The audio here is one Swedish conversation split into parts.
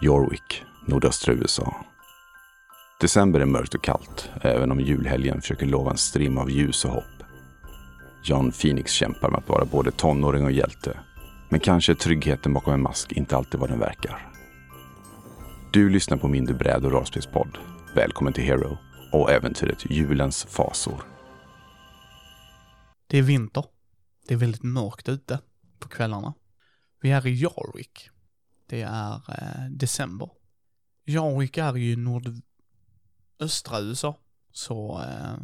Yorwick, nordöstra USA. December är mörkt och kallt, även om julhelgen försöker lova en strimma av ljus och hopp. John Phoenix kämpar med att vara både tonåring och hjälte. Men kanske är tryggheten bakom en mask inte alltid vad den verkar. Du lyssnar på Mindre bräd och rollspelspodd. Välkommen till Hero och äventyret Julens fasor. Det är vinter. Det är väldigt mörkt ute på kvällarna. Vi är i Jarwick. Det är eh, december. Jarwick är ju nordöstra USA. Så eh,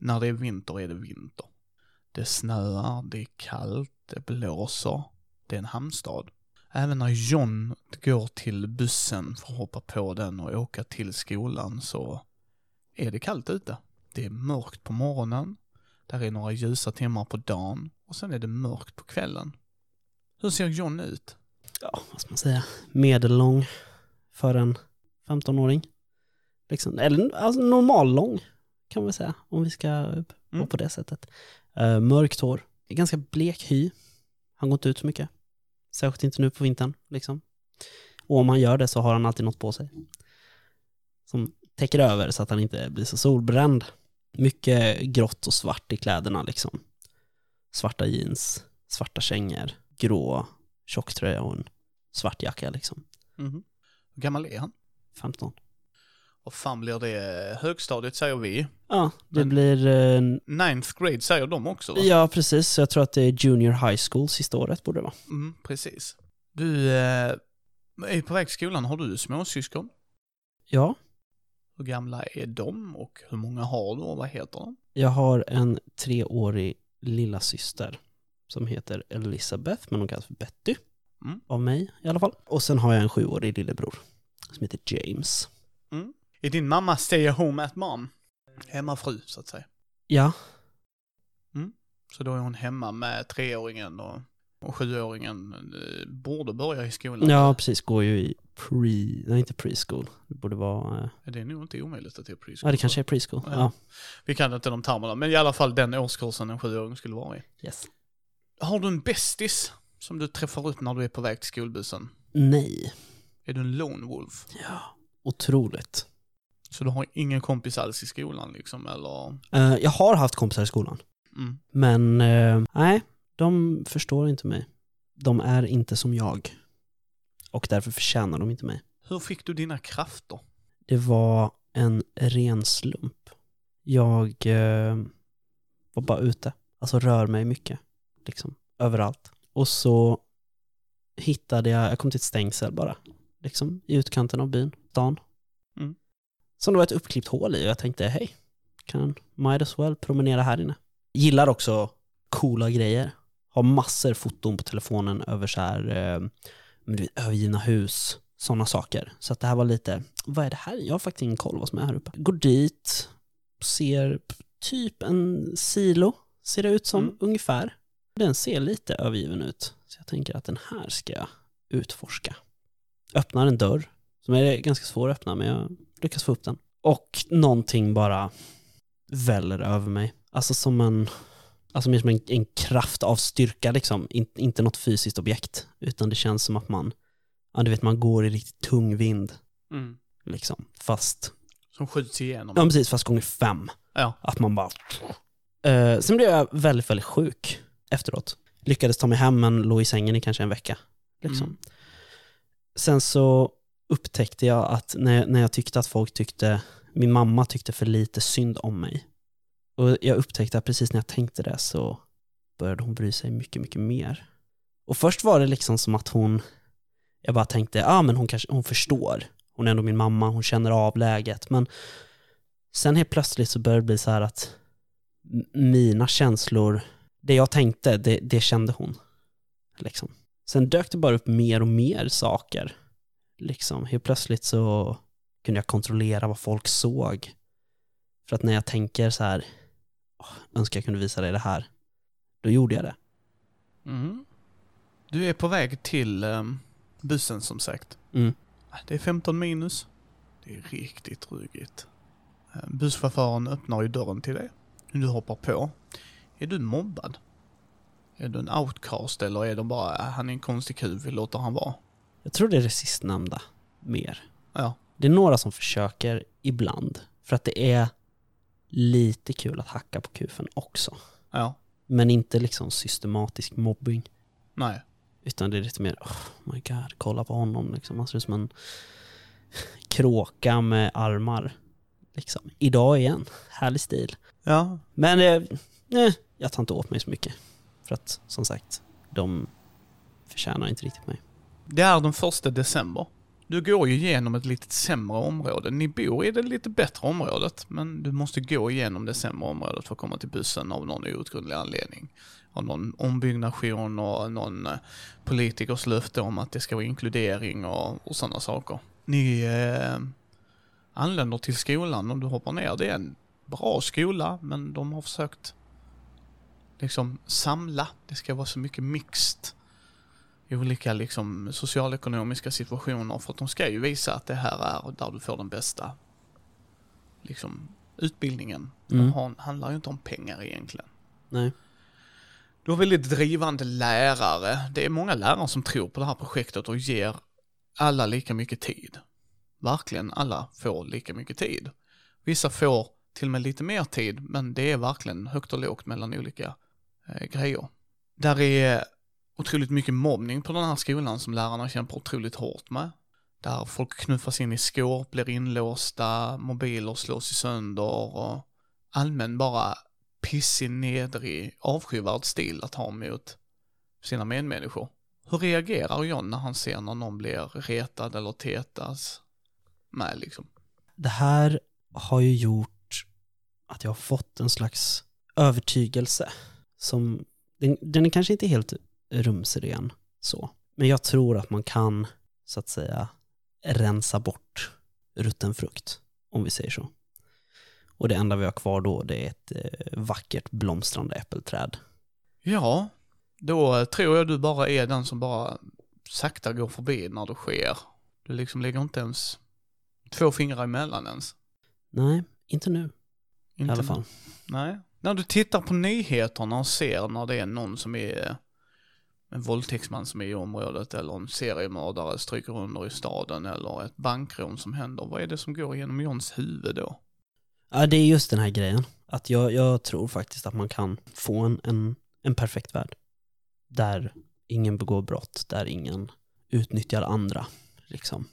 när det är vinter är det vinter. Det snöar, det är kallt, det blåser. Det är en hamnstad. Även när John går till bussen för att hoppa på den och åka till skolan så är det kallt ute. Det är mörkt på morgonen. Där är några ljusa timmar på dagen och sen är det mörkt på kvällen. Hur ser John ut? ja, vad ska man säga, medellång för en 15-åring. Liksom, eller alltså, normallång kan man säga, om vi ska gå Mm. på det sättet. Eh, mörkt hår, ganska blek hy. Han går inte ut så mycket. Särskilt inte nu på vintern. Liksom. Och om han gör det så har han alltid något på sig. Som täcker över så att han inte blir så solbränd. Mycket grått och svart i kläderna liksom. Svarta jeans, svarta kängor, grå tjocktröja och en svart jacka liksom. Mhm. Hur gammal är han? 15. Och fan blir det högstadiet säger vi. Ja, det Men- blir... eh, en- Ninth grade säger de också va? Ja, precis. Så Jag tror att det är junior high school sista året borde det vara. Mm, precis. Du eh, är på väg till skolan. Har du småsyskon? Ja, Hur gamla är de och hur många har du och vad heter de? jag har en treårig lilla syster som heter Elisabeth, men hon kallas för Betty. Mm. Av mig i alla fall. Och sen har jag en sjuårig lillebror som heter James. Är din mamma stay at home at mom? Hemmafru så att säga. Ja, Så då är hon hemma med treåringen och, och sjuåringen eh, borde börja i skolan. ja precis. Går ju i pre... Nej, inte preschool. Det borde vara... eh, Det är nog inte omöjligt att det är preschool. Ja, det kanske är preschool. Ja. Ja. Vi kan inte de termerna, men i alla fall den årskursen en sjuåring skulle vara i. Yes. Har du en bästis som du träffar upp när du är på väg till skolbussen? Nej. Är du en lone wolf? Ja. Otroligt. Så du har ingen kompis alls i skolan liksom, eller? Eh, jag har haft kompisar i skolan. Mm. Men eh, nej, de förstår inte mig. De är inte som jag. Och därför förtjänar de inte mig. Hur fick du dina krafter? Det var en ren slump. Jag eh, var bara ute. Alltså rör mig mycket. Liksom överallt. Och så hittade jag, jag kom till ett stängsel bara. Liksom i utkanten av byn, stan. Mm. Som det var ett uppklippt hål i och jag tänkte hej, kan might as well promenera här inne. Gillar också coola grejer. Har massor foton på telefonen över så här, eh, men du vet, övergivna hus, sådana saker. Så att det här var lite, vad är det här? Jag har faktiskt ingen koll vad som är här uppe. Går dit, ser p- typ en silo, ser det ut som Mm. ungefär. Den ser lite övergiven ut, så jag tänker att den här ska jag utforska. Öppnar en dörr, som är ganska svår att öppna, men jag lyckas få upp den. Och någonting bara väller över mig. Alltså som en Alltså mer som en, en kraft av styrka liksom, In, inte något fysiskt objekt, utan det känns som att man, ja du vet man går i riktigt tung vind Mm. liksom, fast, Som skjuts igenom? ja precis, fast gånger fem. Ja. Att man bara... Eh, sen blev jag väldigt, väldigt sjuk efteråt. Lyckades ta mig hem men låg i sängen i kanske en vecka. Liksom. Mm. Sen så upptäckte jag att när, när jag tyckte att folk tyckte, min mamma tyckte för lite synd om mig. Och jag upptäckte att precis när jag tänkte det så började hon bry sig mycket, mycket mer. Och först var det liksom som att hon, jag bara tänkte, ja ah, men hon kanske, hon förstår. Hon är ändå min mamma, hon känner av läget. Men sen helt plötsligt så började det bli så här att m- mina känslor, det jag tänkte, det, det kände hon. Liksom. Sen dök det bara upp mer och mer saker. Liksom, helt plötsligt så kunde jag kontrollera vad folk såg. För att när jag tänker så här, "Åh, önskar jag kunde visa dig det här, då gjorde jag det. Mm. Du är på väg till ehm, bussen som sagt. Ah, Mm. Det är 15 minus. Det är riktigt ruggigt. Eh, Busschauffören öppnar ju dörren till dig. Du hoppar på. Är du mobbad? Är du en outcast eller är de bara, "Ah, han är en konstig kuv, vi låter han vara? Jag tror det är det sistnämnda. mer. Ja. Det är några som försöker ibland, för att det är lite kul att hacka på kufen också. Ja. Men inte liksom systematisk mobbing, Nej. utan det är lite mer oh my god, kolla på honom liksom. Han ser ut som en kråka med armar. Liksom. Idag igen, härlig stil. Ja. Men eh, nej, jag tar inte åt mig så mycket. För att som sagt, de förtjänar inte riktigt mig. Det är den första december. Du går ju igenom ett lite sämre område. Ni bor i det lite bättre området, men du måste gå igenom det sämre området för att komma till bussen av någon outgrundlig anledning. Av någon ombyggnation och någon eh, politikers löfte om att det ska vara inkludering och, och sådana saker. Ni eh, anländer till skolan och du hoppar ner. Det är en bra skola, men de har försökt liksom samla. Det ska vara så mycket mixed i olika liksom, socialekonomiska situationer för att de ska ju visa att det här är där du får den bästa liksom, utbildningen. Mm. Det har- handlar ju inte om pengar egentligen. Nej. Du har väldigt drivande lärare. Det är många lärare som tror på det här projektet och ger alla lika mycket tid. Verkligen alla får lika mycket tid. Vissa får till och med lite mer tid, men det är verkligen högt och lågt mellan olika eh, grejer. Där är otroligt mycket mobbning på den här skolan som lärarna kämpar otroligt hårt med. Där folk knuffas in i skåp, blir inlåsta, mobiler slås i sönder och allmän bara pissig, nedrig, avskyvärd stil att ha mot sina medmänniskor. Hur reagerar John när han ser när någon blir retad eller tetas med liksom? Det här har ju gjort att jag har fått en slags övertygelse som, den, den är kanske inte helt rumsren så, men jag tror att man kan så att säga rensa bort rutten frukt, om vi säger så. Och det enda vi har kvar då det är ett eh, vackert blomstrande äppelträd. Ja, då eh, tror jag du bara är den som bara sakta går förbi när det sker. Du liksom lägger inte ens två fingrar emellan ens. Nej, inte nu Inte i alla fall. Nej. När du tittar på nyheterna och ser när det är någon som är en våldtäktsman som är i området eller en seriemördare stryker under i staden eller ett bankrån som händer. Vad är det som går genom Johns huvud då? Ja, det är just den här grejen. Att jag, jag tror faktiskt att man kan få en, en, en perfekt värld. Där ingen begår brott, där ingen utnyttjar andra. Liksom.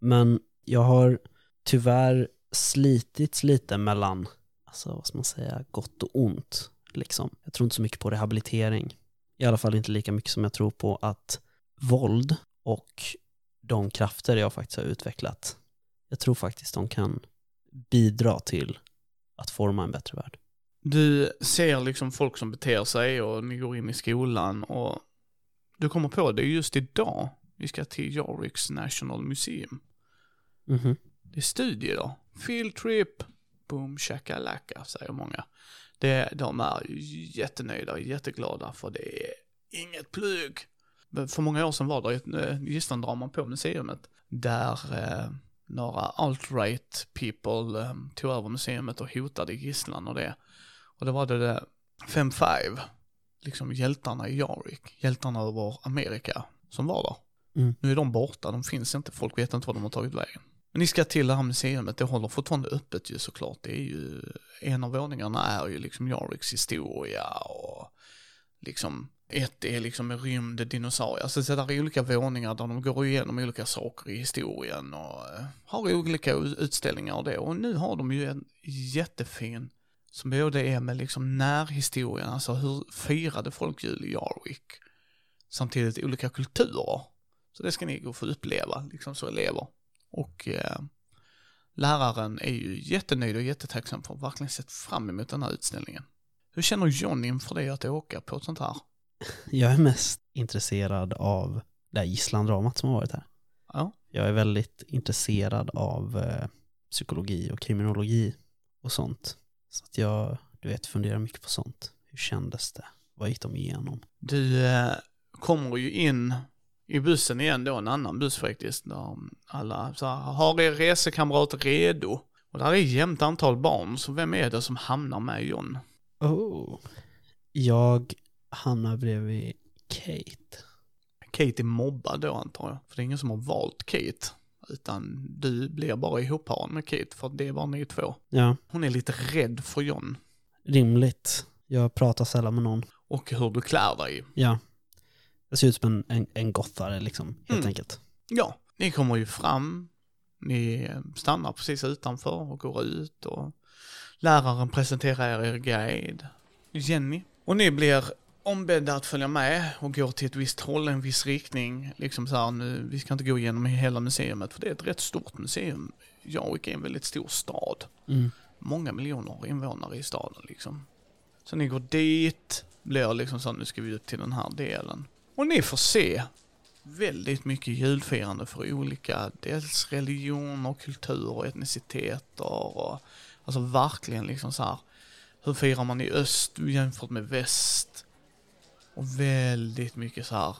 Men jag har tyvärr slitits lite mellan, alltså, vad ska man säga, gott och ont. Liksom. Jag tror inte så mycket på rehabilitering. I alla fall inte lika mycket som jag tror på att våld och de krafter jag faktiskt har utvecklat, jag tror faktiskt de kan bidra till att forma en bättre värld. Du ser liksom folk som beter sig och ni går in i skolan och du kommer på det just idag. Vi ska till Joriks National Museum. Det är studie då. Field trip. Boom shakalaka, säger många. Det, de är jättenöjda och jätteglada för det är inget plugg. Men För många år sedan var det ett eh, gisslandrama på museet där eh, några alt-right people eh, tog över museet och hotade gisslan och det. Och då var det, det Fem Five, liksom hjältarna i Jarvik, hjältarna över Amerika, som var där. Mm. Nu är de borta, de finns inte, folk vet inte vad de har tagit vägen. Men Ni ska till det här museet, det håller fortfarande öppet ju såklart. Det är ju, en av våningarna är ju liksom Jarviks historia och liksom ett är liksom en rymd dinosaurie. Alltså så där är olika våningar där de går igenom olika saker i historien och eh, har olika u- utställningar och det. Och nu har de ju en jättefin som både är med liksom närhistorien, alltså hur firade folk jul i Jarvik? Samtidigt olika kulturer. Så det ska ni gå och få uppleva, liksom så elever. Och eh, läraren är ju jättenöjd och jättetacksam för att verkligen sett fram emot den här utställningen. Hur känner John inför det att åka på ett sånt här? Jag är mest intresserad av det här gisslandramat som har varit här. Ja. Jag är väldigt intresserad av eh, psykologi och kriminologi och sånt. Så att jag, du vet, funderar mycket på sånt. Hur kändes det? Vad gick de igenom? Du eh, kommer ju in i bussen igen då, en annan buss faktiskt, där alla så här, har er resekamrat redo? Och där är jämnt antal barn, så vem är det som hamnar med John? Oh. Jag hamnar bredvid Kate. Kate är mobbad då antar jag, för det är ingen som har valt Kate Utan du blir bara ihopparad med Kate för det är bara ni två. Ja, Hon är lite rädd för John rimligt. Jag pratar sällan med någon. och hur du klär dig. Ja. Jag ser ut som en, en, en gothare liksom, helt Mm. enkelt. Ja, ni kommer ju fram, ni eh, stannar precis utanför och går ut och läraren presenterar er guide, Jenny. Och ni blir ombedda att följa med och gå till ett visst håll, en viss riktning. Liksom så här, nu, vi ska inte gå igenom hela museet för det är ett rätt stort museum. Jawik är en väldigt stor stad. Mm. många miljoner invånare i staden liksom. Så ni går dit, blir liksom så nu ska vi ut till den här delen. Och ni får se väldigt mycket julfirande för olika, dels religioner, kultur och etniciteter och alltså verkligen liksom så här. Hur firar man i öst jämfört med väst? Och väldigt mycket så här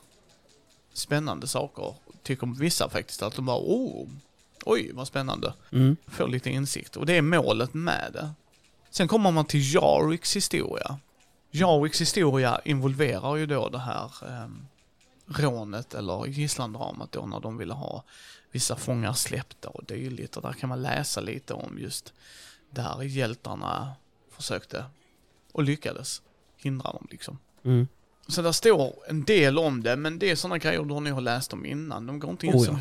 spännande saker. Tycker vissa faktiskt att de bara, oh, oj vad spännande Mm. får lite insikt. Och det är målet med det. Sen kommer man till Jarwicks historia. Jarwicks historia involverar ju då det här eh, rånet eller gisslandramat då när de ville ha vissa fångar släppta och dylikt. Och där kan man läsa lite om just där hjältarna försökte och lyckades hindra dem liksom. Mm. Så där står en del om det, men det är sådana grejer du har nog läst om innan. De går inte in, Oh, så,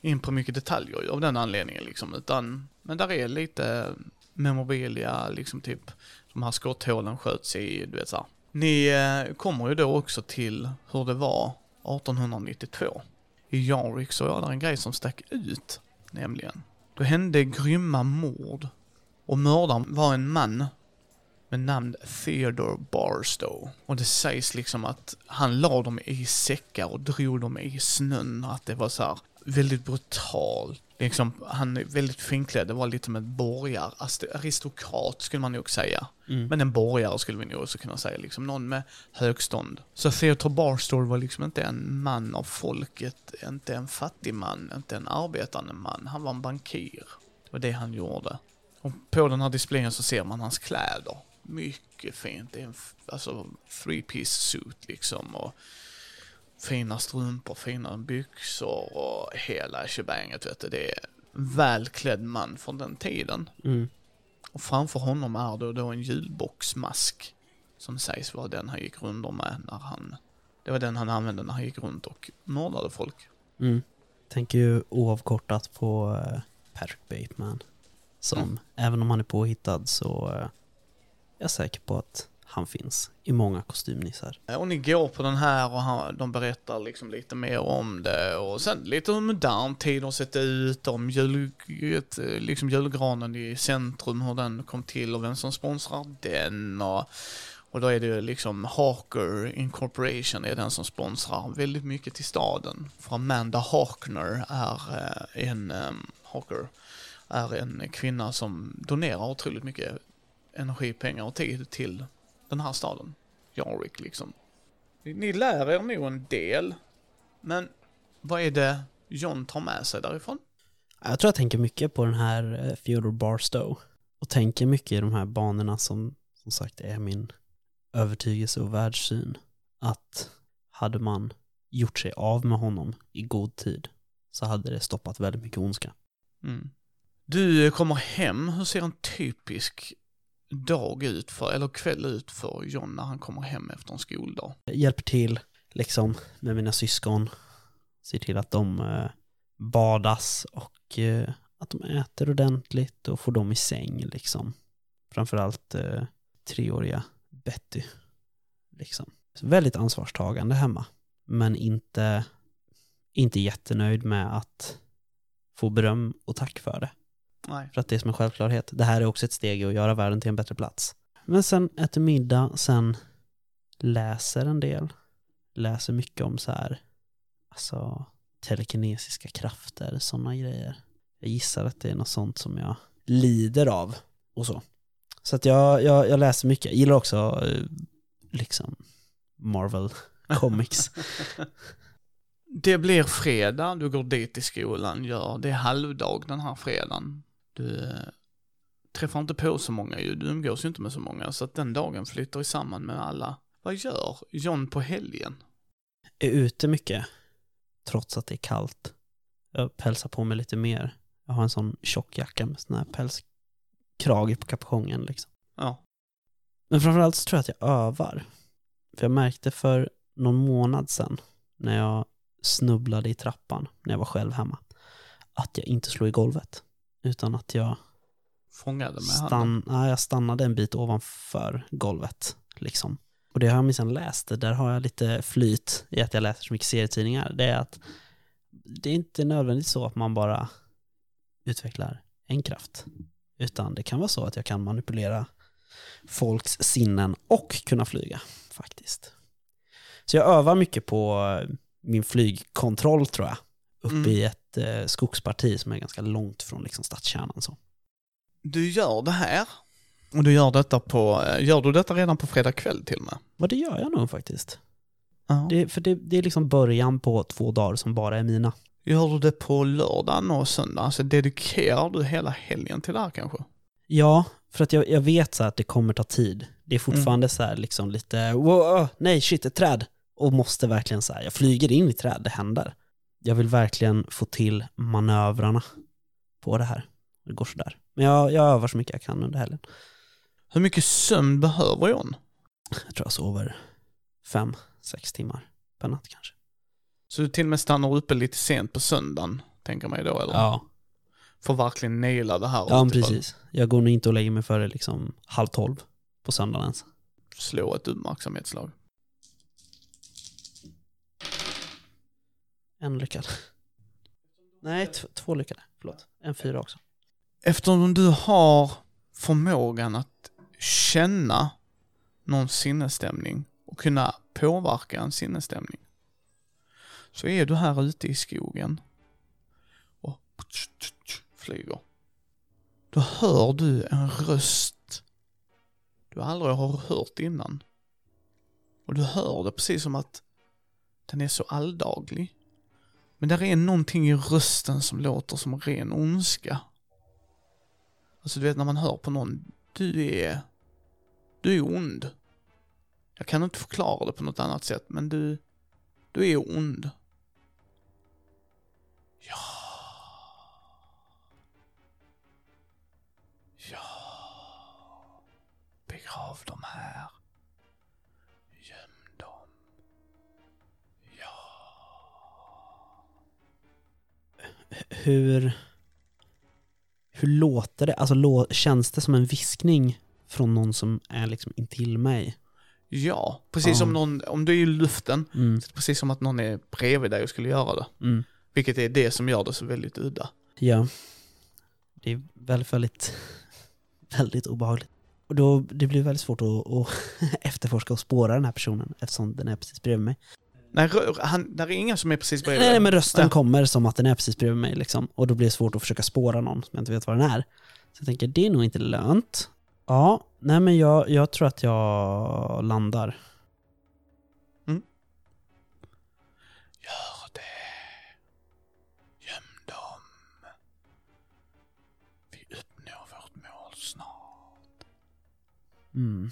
in på mycket detaljer av den anledningen liksom, utan, men där är lite memorabilia, liksom typ de här skotthålen sköts i, du vet så här. Ni eh, kommer ju då också till hur det var 1892. I Jarvik så var det en grej som stack ut, nämligen. Då hände grymma mord och mördaren var en man med namn Theodore Barstow. Och det sägs liksom att han la dem i säckar och drog dem i snön. Att det var så här väldigt brutalt. Liksom, han är väldigt finklädd. Det var lite med borgar, ast- aristokrat skulle man nog säga. Mm. Men en borgare skulle vi nog också kunna säga. Liksom, någon med högstånd. Så Theodore Barstow var liksom inte en man av folket, inte en fattig man, inte en arbetande man. Han var en bankir. Det var det han gjorde. Och på den här displayen så ser man hans kläder. Mycket fint. Det är en f- alltså, three piece suit liksom. Och fina strumpor, fina byxor och hela shebanget vet du. Det är en välklädd man från den tiden. Mm. Och framför honom är det då en julboxmask. Som sägs vara den han gick runt med när han... Det var den han använde när han gick runt och mördade folk. Mm. Tänker ju oavkortat på eh, Patrick Bateman. Som, Mm. även om han är påhittad så eh, jag är säker på att han finns i många kostymnissar. Och ni går på den här och han, de berättar liksom lite mer om det och sen lite hur modern tid har sett ut, om jul, ett, eh, liksom julgranen i centrum, hur den kom till och vem som sponsrar den. Och, och då är det ju liksom Hawker Incorporation är den som sponsrar väldigt mycket till staden. För Amanda Hawkner är eh, en, um, Hawker, är en kvinna som donerar otroligt mycket energi, pengar och tid till den här staden. Jarvik liksom. Ni lär er nog en del. Men vad är det John tar med sig därifrån? Jag tror jag tänker mycket på den här eh, Theodore Barstow. Och tänker mycket i de här banorna som som sagt är min övertygelse och världssyn. Att hade man gjort sig av med honom i god tid så hade det stoppat väldigt mycket ondska. Du kommer hem, hur ser en typisk dag ut för, eller kväll ut för John när han kommer hem efter en skoldag? Jag hjälper till liksom med mina syskon. Ser till att de eh, badas och eh, att de äter ordentligt och får dem i säng liksom. Framförallt eh, treåriga Betty. Liksom. Så väldigt ansvarstagande hemma. Men inte, inte jättenöjd med att få beröm och tack för det. Nej. För att det är som en självklarhet. Det här är också ett steg i att göra världen till en bättre plats. Men sen äter middag, sen läser en del. Läser mycket om så här, alltså telekinesiska krafter, sådana grejer. Jag gissar att det är något sånt som jag lider av och så. Så att jag, jag, jag läser mycket. Jag gillar också eh, liksom Marvel Comics. Det blir fredag, du går dit i skolan, gör, det är halvdag den här fredagen. Du eh, träffar inte på så många ju, du umgås ju inte med så många, så att den dagen flyter i samman med alla. Vad gör John på helgen? är ute mycket, trots att det är kallt. jag pälsar på mig lite mer. Jag har en sån tjock jacka med sån här pälskrage på kapongen liksom. Ja. Men framförallt så tror jag att jag övar. För jag märkte för någon månad sedan när jag snubblade i trappan när jag var själv hemma att jag inte slog i golvet utan att jag Fångade med handen. Stann, ja, jag stannade en bit ovanför golvet. Liksom. Och det har jag minsann läst, där har jag lite flyt i att jag läser så mycket serietidningar. Det är att det är inte nödvändigt så att man bara utvecklar en kraft. Utan det kan vara så att jag kan manipulera folks sinnen och kunna flyga faktiskt. Så jag övar mycket på eh, min flygkontroll tror jag. Uppe Mm. i ett eh, skogsparti som är ganska långt från liksom, stadskärnan. Så. Du gör det här. Och du gör detta på, eh, gör du detta redan på fredag kväll till och med? Vad det gör jag nog faktiskt. Ja. Det, för det, det är liksom början på två dagar som bara är mina. Gör du det på lördagen och söndagen? Alltså dedikerar du hela helgen till det här kanske? Ja, för att jag, jag vet så här att det kommer ta tid. Det är fortfarande så här liksom lite, wow, nej shit, ett träd. Och måste verkligen så här, jag flyger in i ett träd, det händer. Jag vill verkligen få till manövrarna på det här. Det går sådär. Men jag, jag övar så mycket jag kan under helgen. Hur mycket sömn behöver John? Jag tror jag sover fem, sex timmar per natt kanske. Så du till och med stannar uppe lite sent på söndagen, tänker mig då, eller? Ja, Får verkligen naila det här. typ ja men utifrån. precis. Jag går nog inte och lägger mig före liksom halv tolv på söndagen ens. Slå ett uppmärksamhetsslag. En lyckad. Nej, t- två lyckade. Förlåt. En fyra också. Eftersom du har förmågan att känna någon sinnesstämning och kunna påverka en sinnesstämning så är du här ute i skogen och flyger. Då hör du en röst du aldrig har hört innan. Och du hör det precis som att den är så alldaglig. Men där är någonting i rösten som låter som ren ondska. Alltså du vet när man hör på någon, du är... Du är ond. Jag kan inte förklara det på något annat sätt, men du... Du är ond. Ja. Ja. Begrav dem här. Göm dem. Ja. Hur, hur låter det? Alltså lå, känns det som en viskning från någon som är liksom intill mig? Ja, precis som Ja. någon, om du är i luften, Mm. precis som att någon är bredvid dig och skulle göra det. Mm. Vilket är det som gör det så väldigt udda. Ja. Det är väldigt, väldigt, väldigt obehagligt. Och då, det blir väldigt svårt att, att efterforska och spåra den här personen eftersom den är precis bredvid mig. Nej, rör- han, där är ingen som är precis Nej, bredvid nej, dig. men rösten Ja. kommer som att den är precis bredvid mig liksom. Och då blir det svårt att försöka spåra någon som jag inte vet vad den är. Så jag tänker, det är nog inte lönt. Ja, nej men jag, jag tror att jag landar. Gör det. Göm dem. Vi uppnår vårt mål snart. Mm.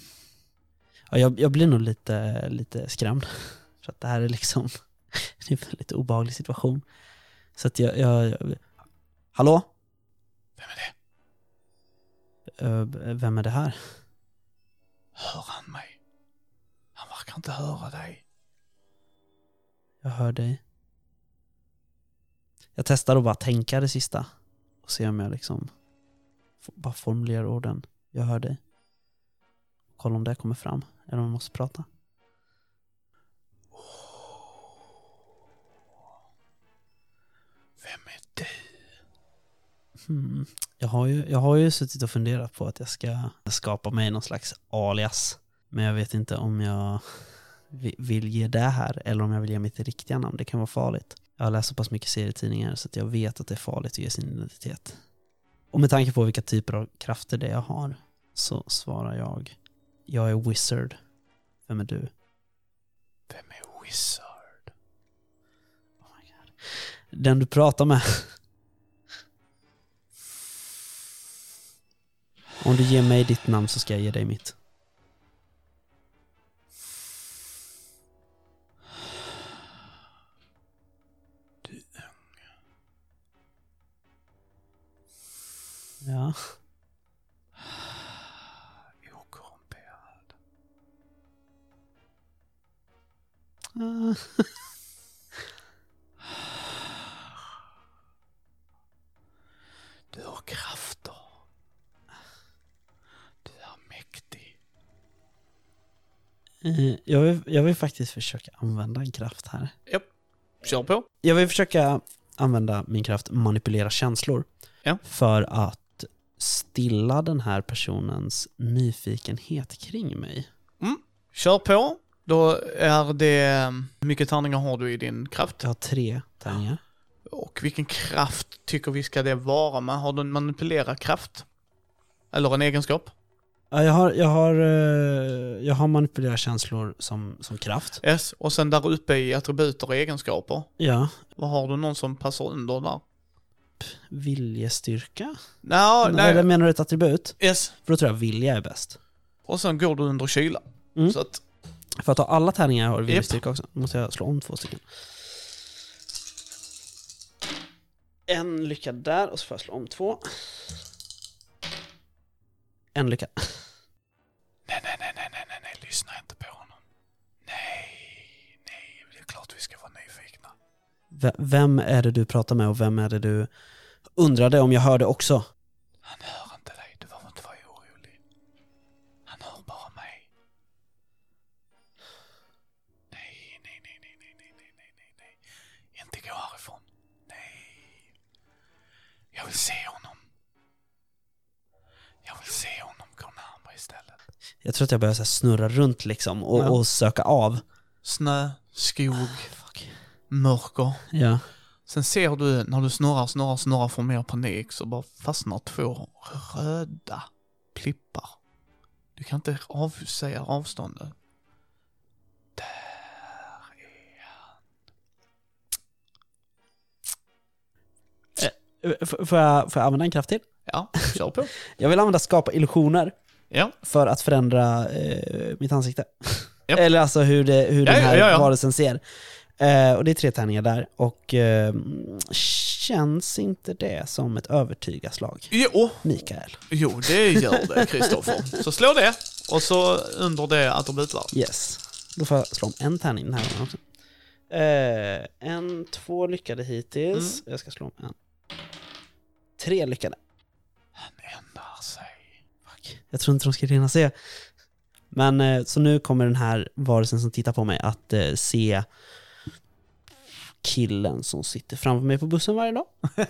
Ja, jag, jag blir nog lite, lite skrämd. För att det här är liksom, det är en väldigt obehaglig situation. Så att jag, jag, jag hallå? Vem är det? Ö, Vem är det här? Hör han mig? Han verkar inte höra dig. Jag hör dig. Jag testar att bara tänka det sista och se om jag liksom f- bara formulerar orden. Jag hör dig. Kolla om det kommer fram eller om jag måste prata. Oh. Vem är du? Hmm. Jag, har ju, jag har ju suttit och funderat på att jag ska skapa mig någon slags alias. Men jag vet inte om jag vi- vill ge det här eller om jag vill ge mitt riktiga namn. Det kan vara farligt. Jag har läst så pass mycket serietidningar så att jag vet att det är farligt att ge sin identitet. Och med tanke på vilka typer av krafter det är jag har så svarar jag Jag är wizard. Vem är du? Vem är Wizard? Oh my God. Den du pratar med. Om du ger mig ditt namn så ska jag ge dig mitt. Du är ung. Ja. Okorrumperad. Ah. Du har krafter. Du är mäktig. Eh, Jag vill, jag vill faktiskt försöka använda en kraft här. Kör på. Jag vill försöka använda min kraft manipulera känslor Ja. för att stilla den här personens nyfikenhet kring mig. Kör på. Då är det... ehm, Hur mycket tärningar har du i din kraft? Jag har tre tärningar. Och vilken kraft tycker vi ska det vara med? Har du en manipulera kraft? Eller en egenskap? Ja, jag, har, jag, har, eh, jag har manipulera känslor som, som kraft. Yes. Och sen där uppe i attributer och egenskaper. Ja. Vad har du någon som passar under där? Viljestyrka? Nå, Eller nej. menar du ett attribut? Yes. För då tror jag vilja är bäst. Och sen går du under kyla. Mm. Så att, För att ha alla tärningar har viljestyrka också. Då måste jag slå om två stycken. En lycka där och så får jag slå om två. En lycka. nej, nej, nej, nej, nej, nej, nej, lyssna inte på honom. Nej, nej, det är klart vi ska vara nyfikna. V- vem är det du pratar med och vem är det du undrade om jag hörde också? Han hör inte dig, du behöver inte vara orolig. Han hör bara mig. Nej, nej, nej, nej, nej, nej, nej, nej, nej, nej. Inte gå härifrån. Nej. Jag vill se honom. Jag vill se honom gå närmare istället. Jag tror att jag börjar så här snurra runt liksom och, Ja. och söka av. Snö, skog, mörker. Ja. Sen ser du när du snurrar, snurrar, snurrar får mer panik så bara fastnar två röda plippar. Du kan inte avsäga avståndet. Eh, F- får, jag, får jag använda en kraft till? Ja, kör på. Jag vill använda skapa illusioner Ja, för att förändra eh, mitt ansikte. Japp. Eller alltså hur, det, hur Ja, den här ja, ja, ja. varelsen ser. Eh, och det är tre tärningar där och eh, känns inte det som ett övertygaslag, jo, Mikael? jo det gör det Kristoffer. Så slå det och så under det attributvärdet. Yes. Då får jag slå om en tärning den här gången också. Eh, en, två lyckade hittills. Mm. Jag ska slå om en. Tre lyckade. Han ändrar sig. Fuck. Jag tror inte de ska hinna se. Men eh, så nu kommer den här varelsen som tittar på mig att eh, se killen som sitter framför mig på bussen varje dag.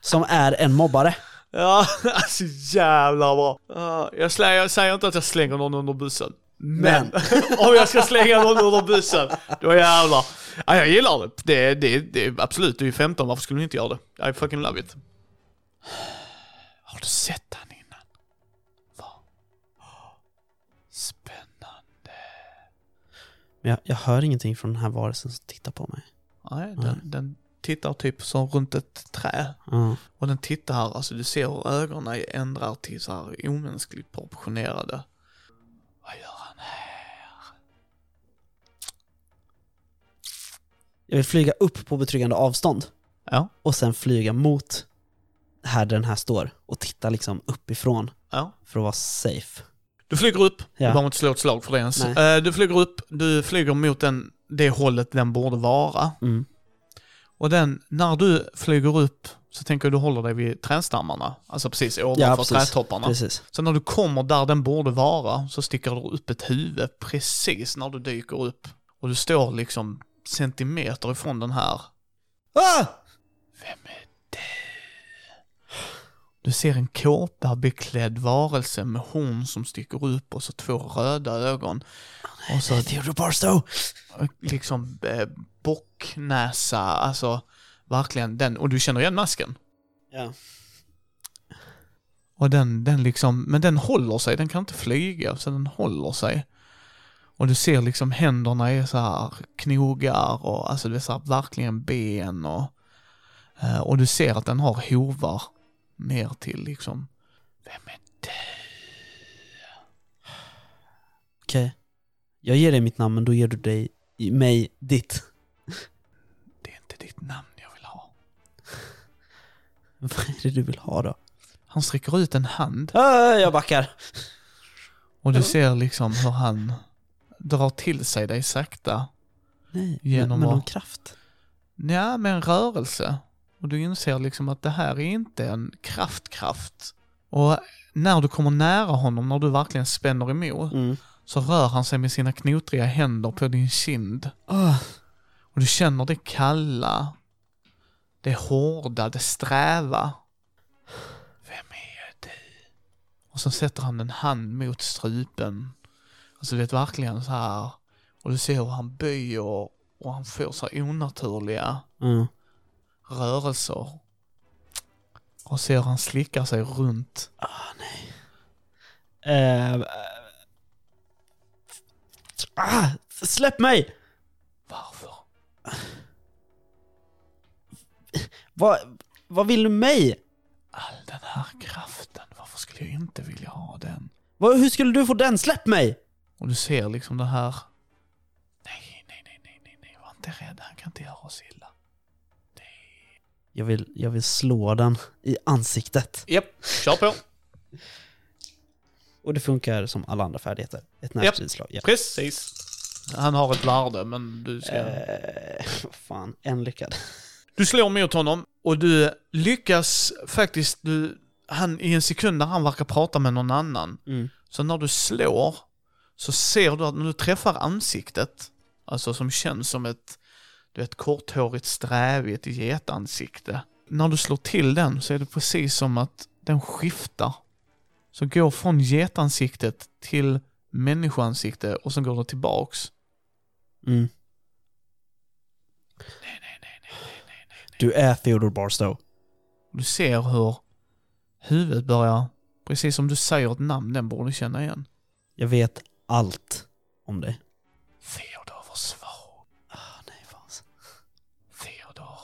som är en mobbare. Ja, alltså jävlar vad. Ja, Jag, slä, jag säger inte att jag slänger någon under bussen. Men, om jag ska slänga någon under bussen, då jävlar. Ja, jag gillar det. Det, det, det. Absolut, du är 15, varför skulle du inte göra det? I fucking love it. Har du sett han innan? Va? Spännande. Men jag, jag hör ingenting från den här varelsen som tittar på mig. Nej, Mm. den, den tittar typ som runt ett träd. Ja. Och den tittar här, alltså du ser hur ögonen ändrar till så här omänskligt proportionerade. Vad gör han här? Jag vill flyga upp på betryggande avstånd Ja, och sen flyga mot här den här står och titta liksom uppifrån ja. för att vara safe. Du flyger upp, du Ja. behöver inte slå ett slag för det ens. Nej. Eh, Du flyger upp, du flyger mot den, det hållet den borde vara. Mm. Och den, när du flyger upp så tänker jag du håller dig vid trädstammarna, alltså precis ovanför Ja, precis. trädtopparna. Precis. Så när du kommer där den borde vara så sticker du upp ett huvud precis när du dyker upp. Och du står liksom centimeter ifrån den här Ah! Vem är du? Du ser en kåpabeklädd varelse med horn som sticker upp och så två röda ögon. Och så Theodore Barstow! liksom eh, bocknäsa, alltså verkligen den. Och du känner igen masken. Ja. Och den, den liksom, men den håller sig, den kan inte flyga, så den håller sig. Och du ser liksom händerna är så här knogar och alltså det är så här verkligen ben och... eh, Och du ser att den har hovar ner till liksom... Vem är det? Okej. Jag ger dig mitt namn, men då ger du dig, mig ditt. Det är inte ditt namn jag vill ha. Vad är det du vill ha då? Han sträcker ut en hand Ah, jag backar. och du ser liksom hur han drar till sig dig sakta. Nej, Genom men, men vad? någon kraft. Ja, med en rörelse. Och du inser liksom att det här är inte en kraftkraft. Och när du kommer nära honom, när du verkligen spänner emot, Mm. så rör han sig med sina knotriga händer på din kind. Ah, Och du känner det kalla, det hårda, det sträva. Vem är du? Och så sätter han en hand mot strupen. Alltså du vet verkligen så här. Och du ser hur han böjer och han får så här onaturliga mm. rörelser. Och ser hur han slickar sig runt. Eh, eh. ah, släpp mig! Varför? Vad, vad vill du mig? All den här kraften, varför skulle jag inte vilja ha den? Vad, hur skulle du få den? Släpp mig! Och du ser liksom det här. Nej, nej, nej, nej, nej, nej, var inte rädd, han kan inte göra oss illa. Jag vill, jag vill slå den i ansiktet. Japp, kör på. Och det funkar som alla andra färdigheter. Ett närstridsslag. Ja. Precis. Han har ett värde, men du ska... Eh, vad fan, en lyckad. Du slår mot honom och du lyckas faktiskt, du, han, i en sekund när han verkar prata med någon annan, Mm. så när du slår så ser du att när du träffar ansiktet, alltså som känns som ett, du vet, korthårigt, strävigt getansikte. När du slår till den så är det precis som att den skiftar. Så går från getansiktet till människoansikte och sen går det tillbaks. Mm. Du är Theodore Barstow. Du ser hur huvudet börjar, precis som du säger ett namn, den borde du känna igen. Jag vet allt om dig. Theodor var svag. Ah, nej, fan. Theodor.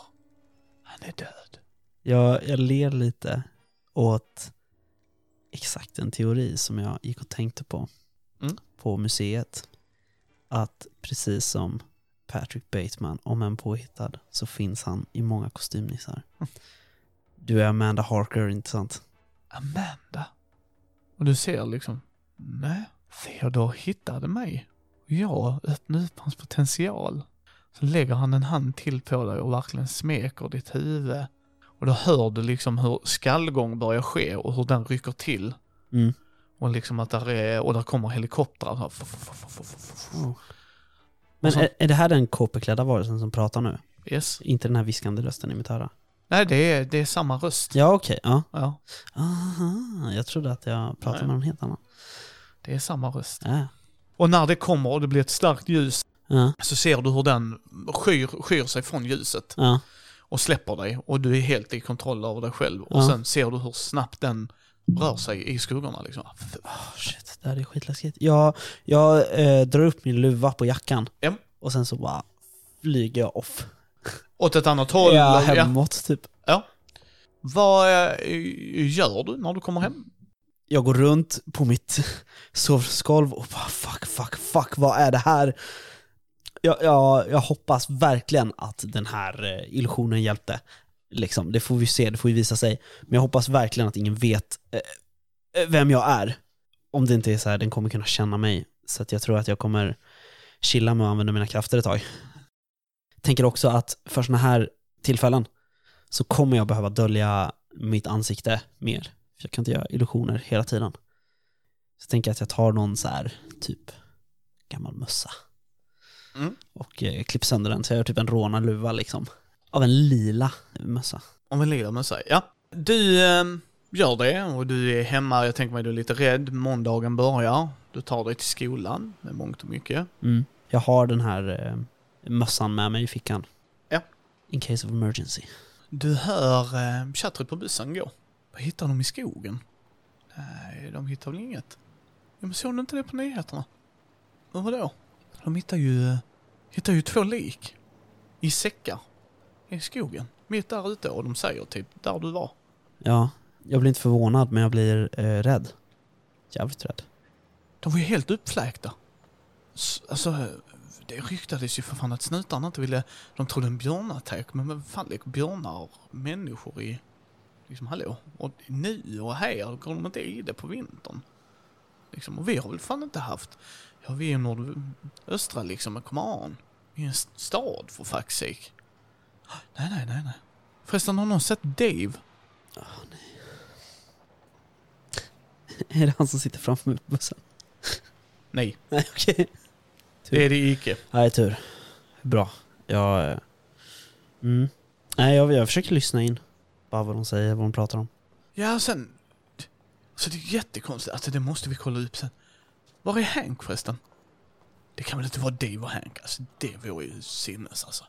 Han är död. Jag, jag ler lite åt exakt en teori som jag gick och tänkte på Mm. på museet. Att precis som Patrick Bateman, om en påhittad, så finns han i många kostymnissar. Du är Amanda Harker, inte sant? Amanda. Och du ser liksom, nej, Theodor hittade mig. Och Jag öppnade upp hans potential. Så lägger han en hand till på dig och verkligen smeker ditt huvud. Och då hör du liksom hur skallgång börjar ske och hur den rycker till. Mm. Och liksom att där är, och där kommer helikoptrar. Så här, fuff, fuff, fuff, fuff, fuff, fuff. Men Och så- är, är det här den kåpeklädda varelsen som pratar nu? Yes. Inte den här viskande rösten i mitt öra? Nej, det är, det är samma röst. Ja, okej. ja. Ja, Aha, jag trodde att jag pratade Nej. med någon helt annan. det är samma röst. Ja. Och när det kommer och det blir ett starkt ljus Ja, så ser du hur den skyr, skyr sig från ljuset ja. och släpper dig och du är helt i kontroll över dig själv. Och Ja. sen ser du hur snabbt den rör sig i skuggorna liksom. Oh, shit, det här är skitläskigt. Jag, jag eh, drar upp min luva på jackan Ja. och sen så bara flyger jag off. Åt ett annat håll. ja, ja. hemåt typ. Vad eh, gör du när du kommer hem? Jag går runt på mitt sovrumsgolv och bara fuck, fuck, fuck, vad är det här? Jag, jag, jag hoppas verkligen att den här eh, illusionen hjälpte. Liksom, det får vi se, det får ju visa sig. Men jag hoppas verkligen att ingen vet eh, eh, vem jag är. Om det inte är så här, den kommer kunna känna mig. Så att jag tror att jag kommer chilla med att använda mina krafter ett tag. Tänker också att för sådana här tillfällen så kommer jag behöva dölja mitt ansikte mer. För jag kan inte göra illusioner hela tiden. Så jag tänker att jag tar någon så här typ gammal mössa Mm. och eh, klipper sönder den så jag gör typ en rånarluva liksom. Av en lila mössa. Om vi lider med sig, ja. Du eh, gör det och du är hemma, jag tänker mig du är lite rädd. Måndagen börjar. Du tar dig till skolan med mångt och mycket. Jag har den här eh, mössan med mig i fickan. Ja. In case of emergency. Du hör eh, tjattret på bussen gå. Vad hittar de i skogen? Nej, de hittar väl inget. Ja, men såg du inte det på nyheterna? Men vadå? De hittar ju, eh, hittar ju två lik. I säckar. I skogen. Mitt där ute och de säger typ där du var. Ja, jag blir inte förvånad men jag blir eh, rädd. Jävligt rädd. De var ju helt uppfläkta. S- alltså, det ryktades ju för fan att snutarna inte ville... De trodde en björnattack, men vem fan leker björnar och människor i, i Liksom hallå, och nu och här går de inte i det på vintern. Liksom, och vi har väl fan inte haft, ja vi är i nordöstra liksom, men come on. Vi är en st- stad för fuck's sake. Nej, nej, nej, nej. Förresten, har någon sett Dave? Är det han som sitter framför mig på bussen? Nej, Nej, okej. det är det icke. Nej, tur. Bra. Jag... eh, Mm. Nej, jag, jag försöker lyssna in. Bara vad de säger, vad de pratar om. Ja, sen... Så det är jättekonstigt. Alltså det måste vi kolla upp sen. Var är Hank förresten? Det kan väl inte vara Dave och Hank? Alltså det vore ju sinnes alltså.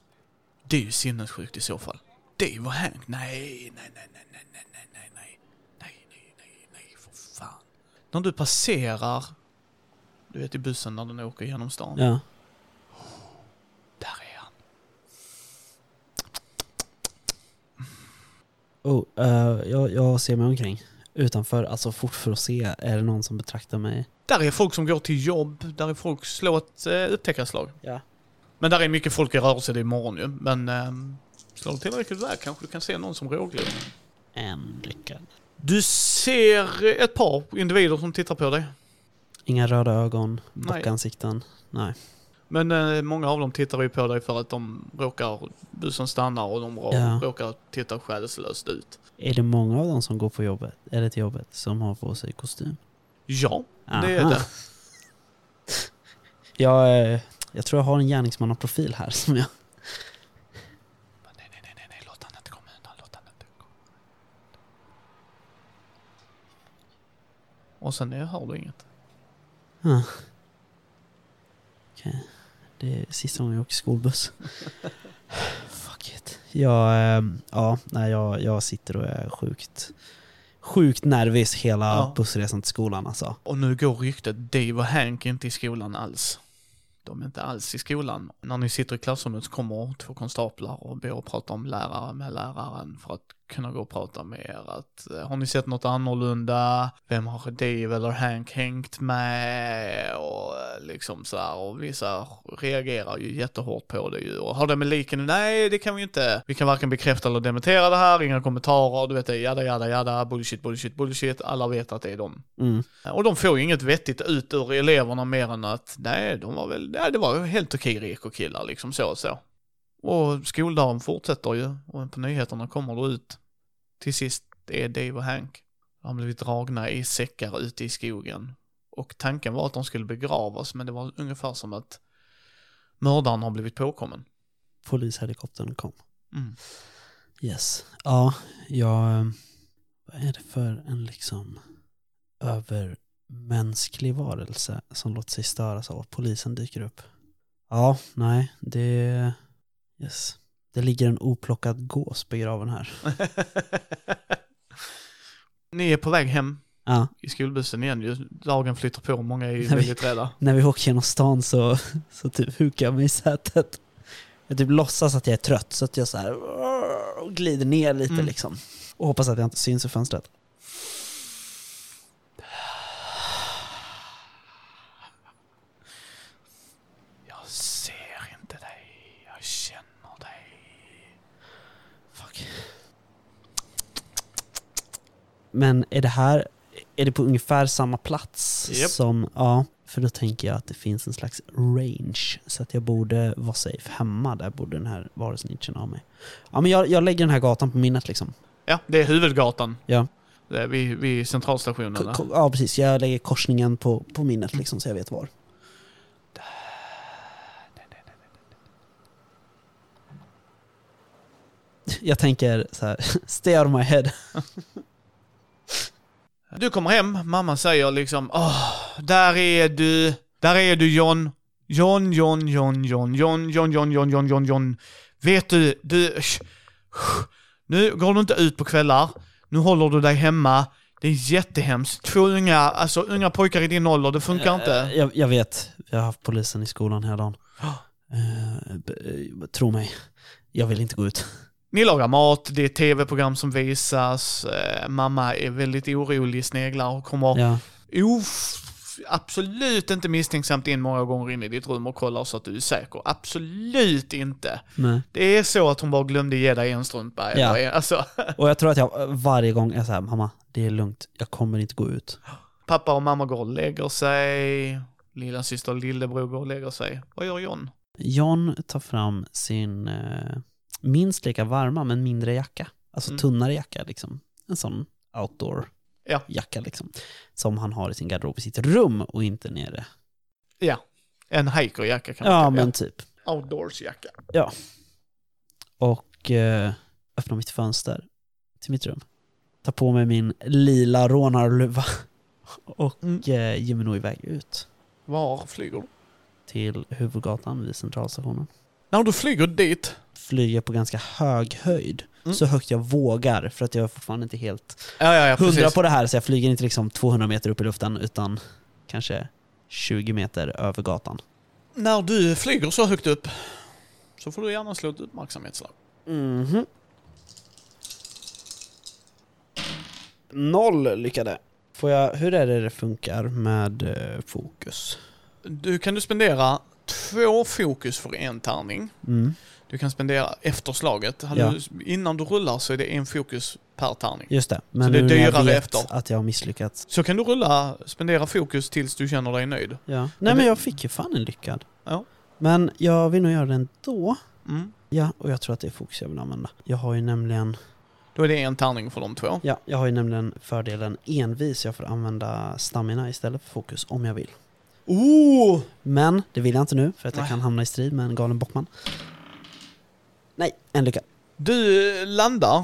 Det är ju sinnessjukt i så fall. Dave och Hank? Nej, nej, nej, nej, nej, nej, nej, nej, nej, nej, nej, nej, nej, för fan. När du passerar, du vet i bussen när den åker genom stan. Ja. Där är han. Oh, eh, jag, jag ser mig omkring. Utanför, alltså fort för att se, är det någon som betraktar mig? Där är folk som går till jobb, där är folk, slå ett eh, upptäckarslag. Ja. Men där är mycket folk i rörelse det är imorgon ju. Men ehm, slår du tillräckligt väl kanske du kan se någon som råglir. En lyckad. Du ser ett par individer som tittar på dig. Inga röda ögon, Nej. bockansikten. Nej. Men eh, många av dem tittar ju på dig för att de råkar, bussen stannar och de rå- Ja. råkar titta själslöst ut. Är det många av dem som går på jobbet, eller till jobbet, som har på sig kostym? Ja, det är Aha. det. Jag, eh, jag tror jag har en gärningsmannaprofil här som jag... Nej, nej, nej, nej, nej, låt han inte komma undan, låt han inte komma Och sen eh, hör du inget. Ah. Okej. Det är sista gången jag åker skolbuss. Fuck it. Jag, eh, ja, nej, jag, jag sitter och är sjukt, sjukt nervis hela Ja. bussresan till skolan alltså. Och nu går ryktet Dave och Hank är inte i skolan alls. De är inte alls i skolan. När ni sitter i klassrummet så kommer två konstaplar och ber och prata om lärare med läraren för att kunna gå och prata med er. Att, eh, har ni sett något annorlunda? Vem har Dave eller Hank hängt med? Och eh, liksom så här. Och vissa reagerar ju jättehårt på det ju. Och har det med liken? Nej, det kan vi ju inte. Vi kan varken bekräfta eller dementera det här. Inga kommentarer. Du vet det. Jada, jada, jada. Bullshit, bullshit, bullshit. Alla vet att det är dem. Mm. Och de får ju inget vettigt ut ur eleverna mer än att nej, de var väl, nej, det var ju helt okej rekokillar liksom så och så. Och skoldagen fortsätter ju och på nyheterna kommer det ut. Till sist är Dave och Hank. De har blivit dragna i säckar ute i skogen. Och tanken var att de skulle begravas men det var ungefär som att mördaren har blivit påkommen. Polishelikoptern kom. Mm. Yes. Ja, jag... eh, Vad är det för en liksom övermänsklig varelse som låter sig störas av att polisen dyker upp? Ja, nej, det... Yes. Det ligger en oplockad gås begraven här. Ni är på väg hem Ja, i skolbussen igen ju. Dagen flyttar på, många är ju Nej, vi- väldigt rädda. när vi åker genom stan så, så typ hukar jag mig i sätet. Jag typ låtsas att jag är trött så att jag så här "Åh", och glider ner lite Mm. liksom. Och hoppas att jag inte syns i fönstret. Jag ser inte dig, jag känner dig. Fuck. Men är det här, är det på ungefär samma plats Japp. som, ja, för då tänker jag att det finns en slags range så att jag borde vara safe hemma, där borde den här varusnitchen ha mig. Ja men jag, jag lägger den här gatan på minnet liksom. Ja, det är huvudgatan. Ja. Det är vid, vid centralstationen. Ko- där. ko- Ja precis, jag lägger korsningen på, på minnet liksom så jag vet var. Jag tänker så här, stay out of my head. Du kommer hem, mamma säger liksom Åh, där är du, där är du John. John, John, John, John, John, John, John, John, John, John, John. Vet du, du... sh- Nu går du inte ut på kvällar. Nu håller du dig hemma. Det är jättehemskt. Två unga, alltså unga pojkar i din ålder, det funkar inte. Eh, Jag, jag vet, jag har haft polisen i skolan hela dagen. Ja. Eh, b- eh, tro mig, jag vill inte gå ut. Ni lagar mat, det är tv-program som visas, eh, mamma är väldigt orolig, sneglar och kommer Ja. of- f- absolut inte misstänksamt in många gånger in i ditt rum och kollar så att du är säker. Absolut inte. Nej. Det är så att hon bara glömde ge dig en strumpa. eller Ja. en- Alltså, Och jag tror att jag varje gång är såhär, mamma, det är lugnt, jag kommer inte gå ut. pappa och mamma går och lägger sig. Lilla syster och lillebror går och lägger sig. Vad gör John? John tar fram sin eh, minst lika varma men mindre jacka. Alltså Mm. tunnare jacka liksom. En sån outdoor Ja. jacka liksom. Som han har i sin garderob i sitt rum och inte nere. En hikerjacka kan man Ja kalla men det. typ. Outdoorsjacka. Och eh, öppnar mitt fönster till mitt rum. Tar på mig min lila rånarluva. Och Mm. eh, ger mig nog iväg ut Var flyger du? till huvudgatan vid centralstationen. När du flyger dit. Flyger på ganska hög höjd. Mm. Så högt jag vågar för att jag är fortfarande inte helt Ja, ja, ja, hundra precis. på det här så jag flyger inte liksom 200 meter upp i luften utan kanske 20 meter över gatan. När du flyger så högt upp så får du gärna slå ett uppmärksamhetsslag. Mhm. Noll lyckade. Får jag, hur är det det funkar med eh, fokus? Du kan du spendera två fokus för en tärning. Mm. Du kan spendera efter slaget. Hade Ja. du, innan du rullar så är det en fokus per tärning. Just det, men Så det är nu när jag dyrare vet efter. att jag har misslyckats. Så kan du rulla, spendera fokus tills du känner dig nöjd. Ja. Men Nej men det- jag fick ju fan en lyckad. Ja. Men jag vill nog göra den då. Mm. Ja, och jag tror att det är fokus jag vill använda. Jag har ju nämligen Då är det en tärning för de två. Ja, jag har ju nämligen fördelen envis. Jag får använda stamina istället för fokus om jag vill. Oh! Men det vill jag inte nu för att jag Nej. kan hamna i strid med en galen bockman. Nej, en lycka. Du landar.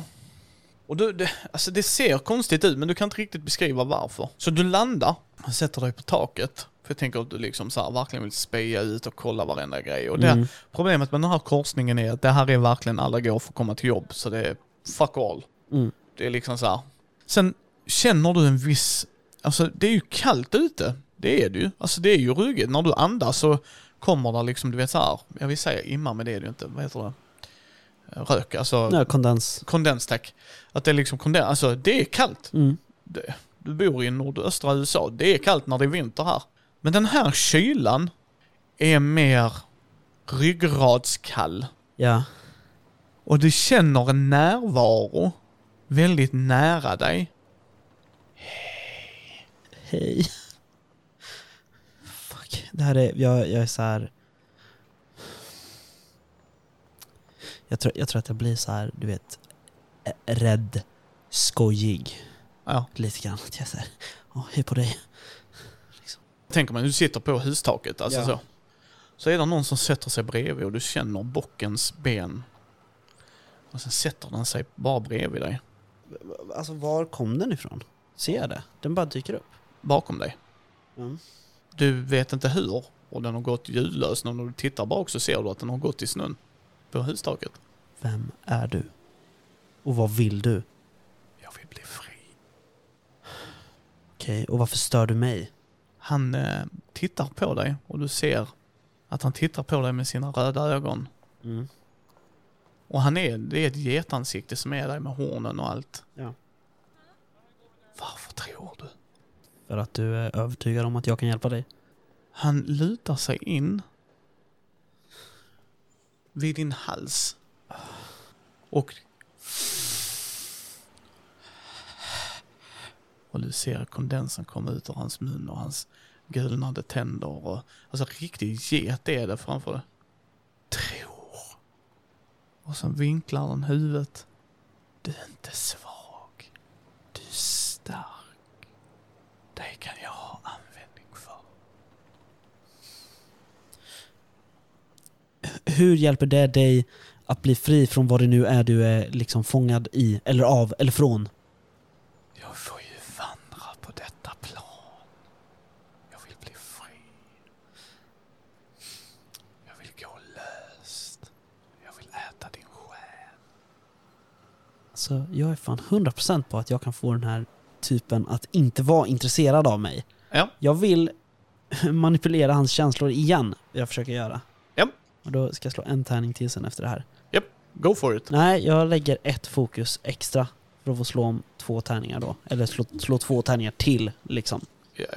Och du, det, alltså det ser konstigt ut men du kan inte riktigt beskriva varför. Så du landar och sätter dig på taket. För jag tänker att du liksom så här, verkligen vill speja ut och kolla varenda grej. Och det, Mm. Problemet med den här korsningen är att det här är verkligen alla går för att komma till jobb. Så det är fuck all. Mm. Det är liksom så här. Sen känner du en viss... Alltså det är ju kallt ute. Det är det ju. Alltså det är ju ruggigt. När du andas så kommer det liksom, du vet så här. Jag vill säga imma, men det är det ju inte. Vad heter det? Rök, alltså Nej, kondens. kondens tack. Att det är liksom kondens, alltså det är kallt. Mm. Det, du bor i nordöstra USA, det är kallt när det är vinter här. Men den här kylan är mer ryggradskall. Ja. Och du känner en närvaro väldigt nära dig. Hej. Fuck. Det här är, jag, jag är så här. Jag tror, jag tror att jag blir så här, du vet, ä- rädd, skojig. Ja. Lite grann. Att jag är så här, "Åh, hej på dig. Tänker man, du sitter på hustaket, alltså Ja. så. Så är det någon som sätter sig bredvid och du känner bockens ben. Och sen sätter den sig bara bredvid dig, Alltså var kom den ifrån? Ser jag det? Den bara dyker upp. bakom dig. Mm. Du vet inte hur och den har gått ljudlös. När du tittar bak så ser du att den har gått i snön på hustaket. Vem är du? Och vad vill du? Jag vill bli fri. Okej, och varför stör du mig? Han eh, tittar på dig och du ser att han tittar på dig med sina röda ögon. Mm. Och han är, det är ett getansikte som är där med hornen och allt. Ja. Varför tror du? För att du är övertygad om att jag kan hjälpa dig? Han lutar sig in vid din hals. Och... Och du ser kondensen komma ut ur hans mun och hans gulnade tänder. Och, alltså riktig get är det framför dig. Tror. Och sen vinklar han huvudet. Du är inte svag. Du är stark. Det kan jag ha användning för. Hur hjälper det dig att bli fri från vad det nu är du är liksom fångad i, eller av, eller från? Jag får ju vandra på detta plan. Jag vill bli fri. Jag vill gå löst. Jag vill äta din själ. Alltså, jag är fan 100% på att jag kan få den här typen att inte vara intresserad av mig. Ja. Jag vill manipulera hans känslor igen, jag försöker göra. Ja. Och då ska jag slå en tärning till sen efter det här. Go for it. Nej, jag lägger ett fokus extra för att få slå om två tärningar då. Eller slå, slå två tärningar till liksom.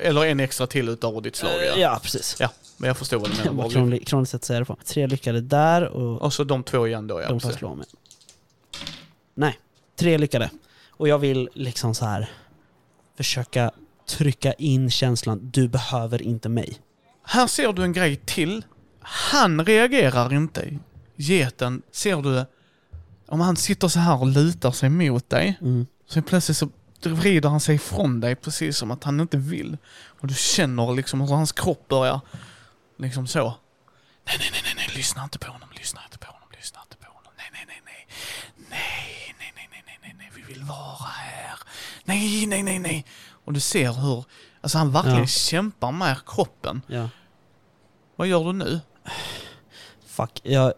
Eller en extra till utav ditt slag ja. Eh, Ja, precis. Men jag förstår vad du menar. Vad Bobby. krångligt, krångligt sätt att säga det på. Tre lyckade där och Och så de två igen då ja. de får precis. slå mig. Nej, tre lyckade. Och jag vill liksom så här försöka trycka in känslan, du behöver inte mig. Här ser du en grej till. Han reagerar inte. Geten, ser du? Om han sitter så här och lutar sig mot dig. Mm. Så plötsligt så vrider han sig ifrån dig precis som att han inte vill. Och du känner liksom hur hans kropp börjar liksom så. Nej, nej, nej, nej, nej, lyssna inte på honom, lyssna inte på honom, lyssna inte på honom. Nej, nej, nej, nej. Nej, nej, nej, nej, nej, nej, nej, vi vill vara här. Nej, nej, nej, nej. Och du ser hur, alltså han verkligen Ja. kämpar med kroppen. Ja. Vad gör du nu? Fuck, jag...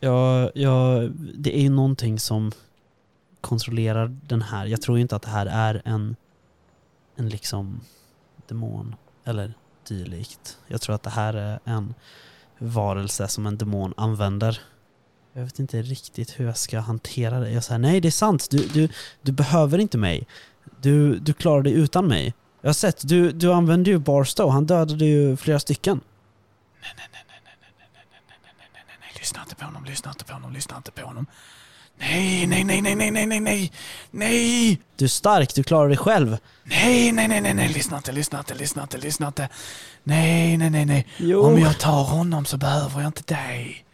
Jag, jag... Det är ju någonting som kontrollerar den här. Jag tror ju inte att det här är en, en liksom demon eller dylikt. Jag tror att det här är en varelse som en demon använder. Jag vet inte riktigt hur jag ska hantera det. Jag säger nej det är sant, du, du, du behöver inte mig. Du, du klarar dig utan mig. Jag har sett, du, du använde ju Barstow, han dödade ju flera stycken. Nej, nej, nej, nej, nej, nej, nej, nej, nej, nej, nej, nej, nej, nej, lyssna inte på honom, lyssna inte på honom, lyssna inte på honom. Nej, nej, nej, nej, nej, nej, nej, nej, nej, Du är stark, du klarar dig själv. nej, nej, nej, nej, nej, lyssna inte, lyssna inte, lyssna inte, lyssna inte. Nej, nej, nej, nej. Jo. Om jag tar honom så behöver jag inte dig.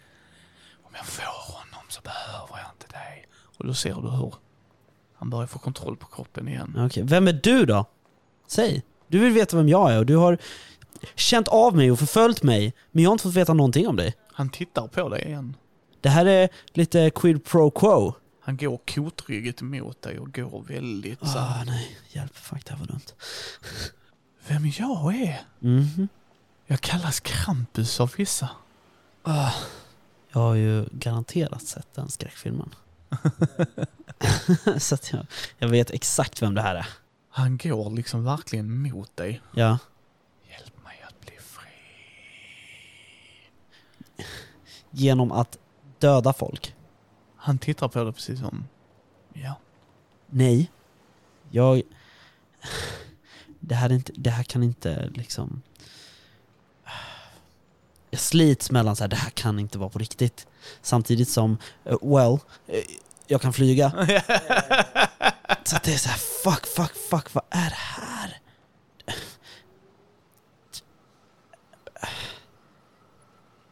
Om jag får honom så behöver jag inte dig. Och då ser du hur han börjar få kontroll på kroppen igen. Okej, vem är du då? Säg. Du vill veta vem jag är och du har känt av mig och förföljt mig, men jag har inte fått veta någonting om dig. Han tittar på dig igen. Det här är lite quid pro quo. Han går kotryggigt mot dig och går väldigt så här. Ah, nej. Hjälp, fuck det här var dumt. Vem jag är? Mhm. Jag kallas Krampus av vissa. Ah, jag har ju garanterat sett den skräckfilmen. Så att jag, jag vet exakt vem det här är. Han går liksom verkligen mot dig. Ja. Hjälp mig att bli fri. Genom att döda folk. Han tittar på dig precis som... Ja. Nej. Jag... Det här, är inte, det här kan inte liksom... Jag slits mellan så här, det här kan inte vara på riktigt. Samtidigt som, eh, well, eh, jag kan flyga. Så att det är så här, fuck, fuck, fuck, vad är det här?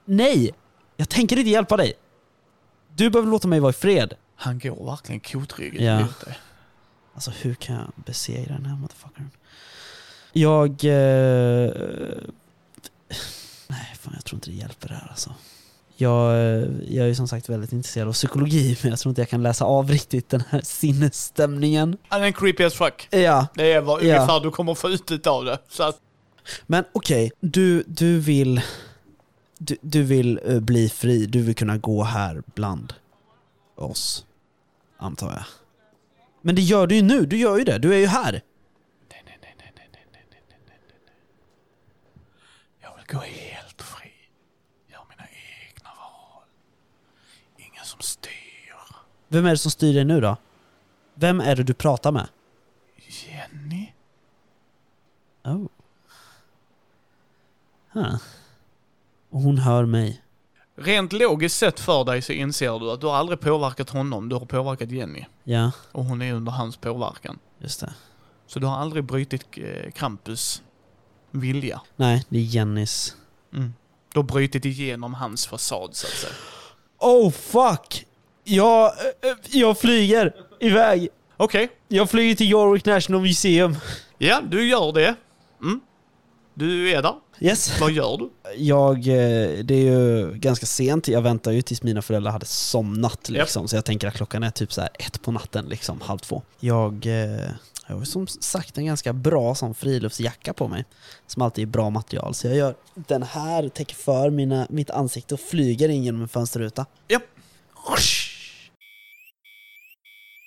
Nej! Jag tänker inte hjälpa dig. Du behöver låta mig vara i fred. Han går verkligen kotryggigt Ja. mot dig. Alltså hur kan jag besegra den här motherfuckern? Jag... Eh, nej, fan jag tror inte det hjälper det här alltså. Jag, eh, jag är ju som sagt väldigt intresserad av psykologi, men jag tror inte jag kan läsa av riktigt den här sinnesstämningen. Han är en creepy as fuck. Ja, Det är vad Ja. ungefär du kommer få ut av det. Så att, men okej, du, du vill... Du, du vill eh, bli fri, du vill kunna gå här bland oss, antar jag. Men det gör du ju nu, du gör ju det, du är ju här. nej, nej, nej, nej, nej, nej, nej, nej, nej, nej, nej. Jag vill gå helt fri. Gör mina egna val. Ingen som styr. Vem är det som styr dig nu då? Vem är det du pratar med? Jenny? Oh. Huh. Och hon hör mig. Rent logiskt sett för dig så inser du att du har aldrig påverkat honom, du har påverkat Jenny. Ja, Och hon är under hans påverkan. just det. Så du har aldrig brutit eh, Krampus vilja. Nej, det är Jennys. Du har brutit igenom hans fasad så att säga. Oh fuck! Jag, eh, eh, jag flyger iväg. Okej, Jag flyger till Warwick National Museum. ja du gör det. Mm. Du är där. Yes. Vad gör du? Jag, eh, det är ju ganska sent. Jag väntar ju tills mina föräldrar hade somnat liksom. Så jag tänker att klockan är typ så här ett på natten, liksom halv två. Jag, eh, jag har ju som sagt en ganska bra sån friluftsjacka på mig. Som alltid är bra material. Så jag gör den här, täcker för mina, mitt ansikte och flyger in genom en fönsterruta. Japp.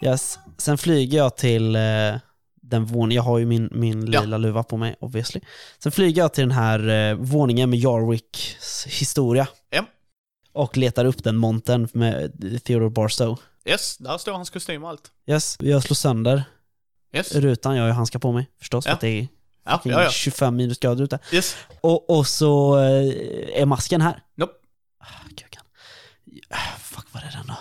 Yes. Sen flyger jag till eh, den våningen, jag har ju min, min Ja. lila luva på mig obviously. Sen flyger jag till den här eh, våningen med Jarwicks historia. Ja. Och letar upp den montern med Theodore Barstow. Yes, där står hans kostym och allt. Yes, jag slår sönder Yes. Rutan jag har ju handskar på mig förstås, Ja. för att det är Ja, ja, ja. 25 minusgrader ute. Yes. Och, och så eh, är masken här. Nope. Ah, kukan. Ah, Fuck, vad är den då?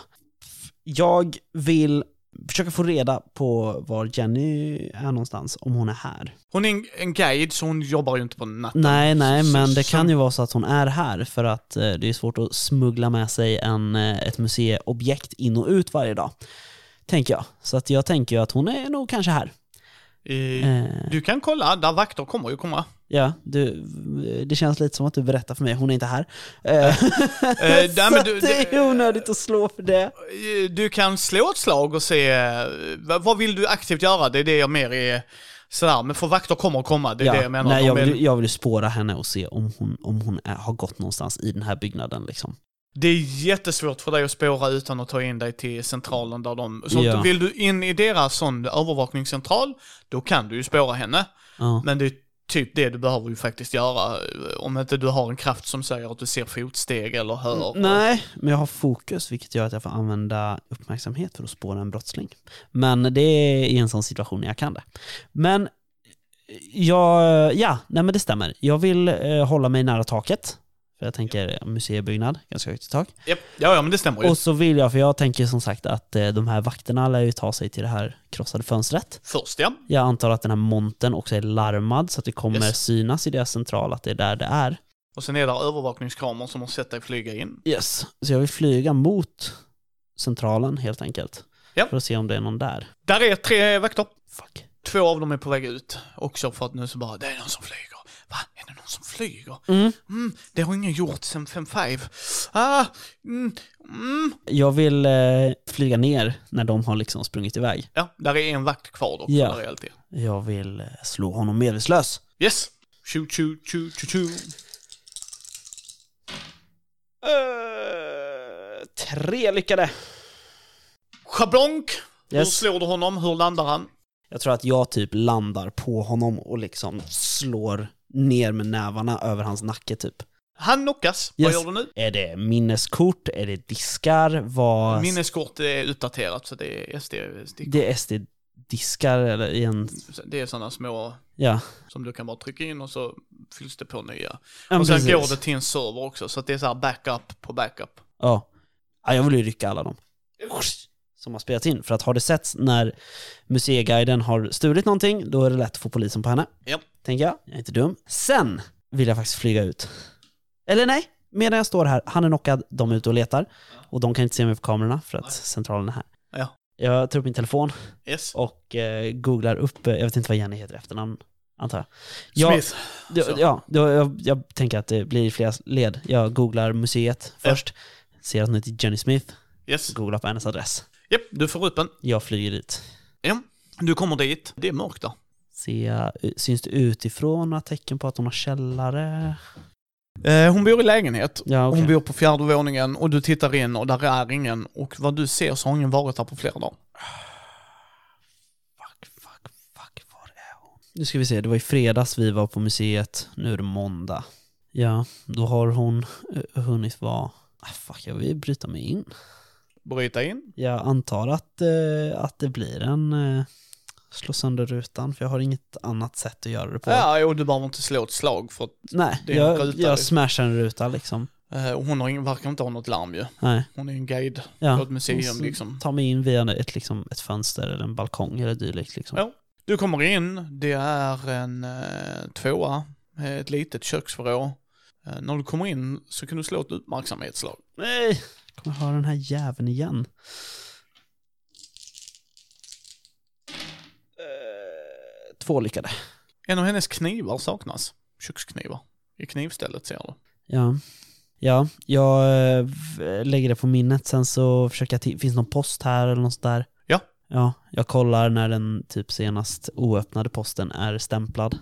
Jag vill försöka få reda på var Jenny är någonstans, om hon är här. Hon är en, en guide, så hon jobbar ju inte på natten. Nej, nej, så- men det så- kan ju vara så att hon är här för att eh, det är svårt att smuggla med sig en, eh, ett museiobjekt in och ut varje dag. Tänker jag. Så att jag tänker ju att hon är nog kanske här. Eh, Eh, Du kan kolla, där vakter kommer ju komma. ja, du, det känns lite som att du berättar för mig, hon är inte här. Eh, Eh, nej, så men att du- det är onödigt att slå för det. Eh, Du kan slå ett slag och se, eh, vad, vad vill du aktivt göra? Det är det jag mer är sådär, men för vakter kommer att komma, det är det jag menar. Nej, De jag, är- vill, jag vill ju spåra henne och se om hon, om hon är, har gått någonstans i den här byggnaden. Liksom. Det är jättesvårt för dig att spåra utan att ta in dig till centralen där de... Så Ja. vill du in i deras sån övervakningscentral, då kan du ju spåra henne. Ja. Men det är typ det du behöver ju faktiskt göra. eh, Om inte du har en kraft som säger att du ser fotsteg eller hör. Mm, Nej, men jag har fokus vilket gör att jag får använda uppmärksamhet för att spåra en brottsling. Men det är i en sån situation när jag kan det. Men jag, ja, nej men det stämmer. Jag vill eh, hålla mig nära taket. För jag tänker museibyggnad, ganska högt i tak. Japp. Ja, ja, men det stämmer ju. Och så vill jag, för jag tänker som sagt att eh, de här vakterna lär ju ta sig till det här krossade fönstret. Först ja. Jag antar att den här monten också är larmad så att det kommer Yes. synas i deras central att det är där det är. Och sen är det övervakningskameror som har sett dig flyga in. Yes. Så jag vill flyga mot centralen helt enkelt. Ja. För att se om det är någon där. Där är tre vakter. Fuck. Två av dem är på väg ut. Också för att nu så bara, det är någon som flyger. Va? Är det någon som flyger? Mm. Mm, det har ingen gjort sen 5-5. Ah, mm, mm. Jag vill eh, flyga ner när de har liksom sprungit iväg. Ja, där är en vakt kvar dock. Ja. där är alltid. Jag vill eh, slå honom medvetslös. Yes! Tju, tju, tju, tju, tju. Eh, tre lyckade. Schablonk! Hur Yes. slår du honom? Hur landar han? Jag tror att jag typ landar på honom och liksom slår ner med nävarna över hans nacke typ. Han knockas. Vad Yes. gör du nu? Är det minneskort? Är det diskar? Vad... Minneskort är uppdaterat så det är SD. stick- Det är SD-diskar eller i en... Det är sådana små Ja. som du kan bara trycka in och så fylls det på nya. Ja, och sen precis. går det till en server också så att det är så här backup på backup. Ja. ja. Jag vill ju rycka alla dem. Som har spelats in. För att har det setts när museiguiden har stulit någonting, då är det lätt att få polisen på henne. Ja. Tänker jag. Jag är inte dum. Sen vill jag faktiskt flyga ut. Eller nej, medan jag står här. Han är knockad, de är ute och letar. Och de kan inte se mig på kamerorna för att Nej. centralen är här. Ja. Jag tar upp min telefon Yes. och eh, googlar upp, eh, jag vet inte vad Jenny heter i efternamn, antar jag. jag Smith. Ja, Så. ja då, jag, jag tänker att det blir flera led. Jag googlar museet Ja. först, ser att hon heter Jenny Smith, Yes. googlar på hennes adress. Japp, du får upp en. Jag flyger dit. Ja. Du kommer dit. Det är mörkt där. Ser jag, syns det utifrån några tecken på att hon har källare? Eh, hon bor i lägenhet. Ja, okej. Hon bor på fjärde våningen och du tittar in och där är ingen. Och vad du ser så har ingen varit där på flera dagar. Fuck, fuck, fuck, var är hon? Nu ska vi se, det var i fredags vi var på museet, nu är det måndag. Ja, då har hon eh, hunnit vara... Ah, fuck, jag vill bryta mig in. Bryta in. Jag antar att, eh, att det blir en eh, slå sönder rutan, för jag har inget annat sätt att göra det på. Ja, och du behöver inte slå ett slag för att Nej, det är en jag, ruta, jag liksom. smashar en ruta liksom. eh, hon har ingen, verkar inte ha något larm ju. Nej. Hon är en guide på Ja. ett Och museum så liksom. Ta mig in via ett, liksom, ett fönster eller en balkong eller dylikt. Liksom. Ja. Du kommer in, det är en eh, tvåa, eh, ett litet köksvrå. Eh, när du kommer in så kan du slå ett uppmärksamhetsslag. Nej! Kommer jag ha den här jäveln igen? Eh, Två lyckade. En av hennes knivar saknas. Köksknivar. I knivstället ser du. Ja. Ja, jag eh, v- lägger det på minnet sen så försöker jag ti- finns det någon post här eller något sånt där? Ja. Ja, jag kollar när den typ senast oöppnade posten är stämplad.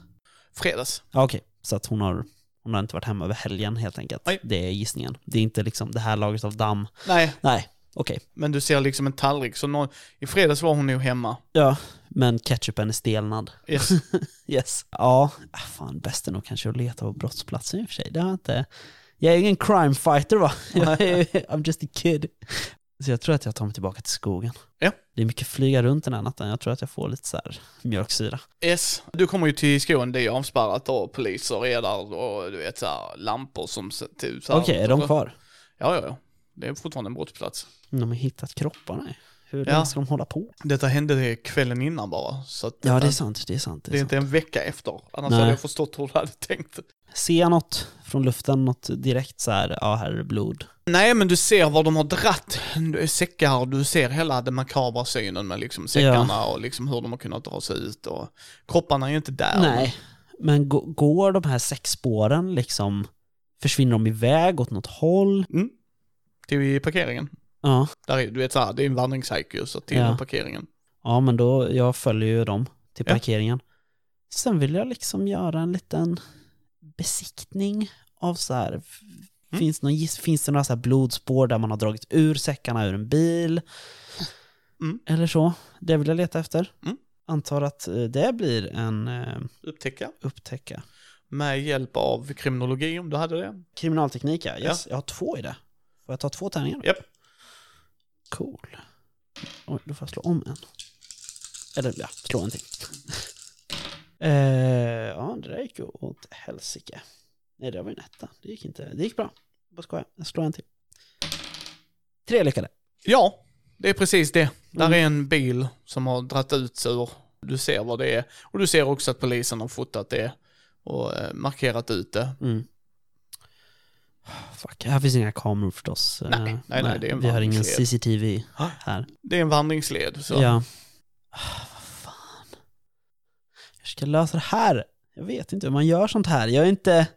Fredags. Ja, okej, så att hon har, hon har inte varit hemma över helgen helt enkelt. Nej. Det är gissningen. Det är inte liksom det här lagret av damm. Nej, Nej, okej. men du ser liksom en tallrik. Så någon, i fredags var hon nog hemma. Ja, men ketchupen är stelnad. Yes. Yes. Ja, ah, fan bäst är nog kanske att leta på brottsplatsen i och för sig. Det har jag inte... Jag är ingen crime fighter va? Jag är, I'm just a kid. Så jag tror att jag tar mig tillbaka till skogen. Ja. Det är mycket flyga runt den här natten. Jag tror att jag får lite så här mjölksyra. Yes, du kommer ju till skogen, det är avspärrat av poliser och redar och du vet så här, lampor som ser ut så här. Okej, är de kvar? Ja, ja, ja. Det är fortfarande en brottsplats. De har hittat kropparna. Hur Ja. länge ska de hålla på? Detta hände det kvällen innan bara, så att Ja, det är sant. Det är sant. det är sant. inte en vecka efter. Annars Nej. hade jag förstått hur du hade tänkt. Ser jag något från luften? Något direkt så här, ja, här är det blod. Nej, men du ser var de har dratt säckar, du ser hela den makabra synen med liksom säckarna och liksom hur de har kunnat dra sig ut och kropparna är ju inte där. Nej, men gå- går de här sex spåren liksom, försvinner de iväg åt något håll? Mm. Till parkeringen. Ja, Där är, du vet såhär, det är en vandringshajk ju, så till Ja. parkeringen. ja men då, jag följer ju dem till Ja. parkeringen. Sen vill jag liksom göra en liten besiktning av så här, f- Mm. finns, någon, giss- finns det några så här blodspår där man har dragit ur säckarna ur en bil? Mm. Eller så. Det vill jag leta efter. Mm. Antar att eh, det blir en eh, Upptäcka. upptäcka. Med hjälp av kriminologi om du hade det. Kriminalteknik, ja. Yes, Jag har två i det. Får jag ta två tärningar då? Japp. Cool. Oj, då får jag slå om en. Eller ja, slå en till. eh, ja, det där gick ju åt helsike. Nej, det var ju en etta. Det gick inte. Det gick bra. Vad ska jag? Jag slår en till. Tre lyckade. Ja, det är precis det. Där Mm. är en bil som har dratt ut sig ur. Du ser vad det är. Och du ser också att polisen har fotat det och eh, markerat ut det. Mm. Fuck, här finns inga kameror förstås. Eh, Nej, nej, nej, det är en Vi har ingen vandringsled. CCTV Ah. här. Det är en vandringsled. Så. Ja. Ah, vad fan. Hur ska jag lösa det här? Jag vet inte hur man gör sånt här. Jag är inte...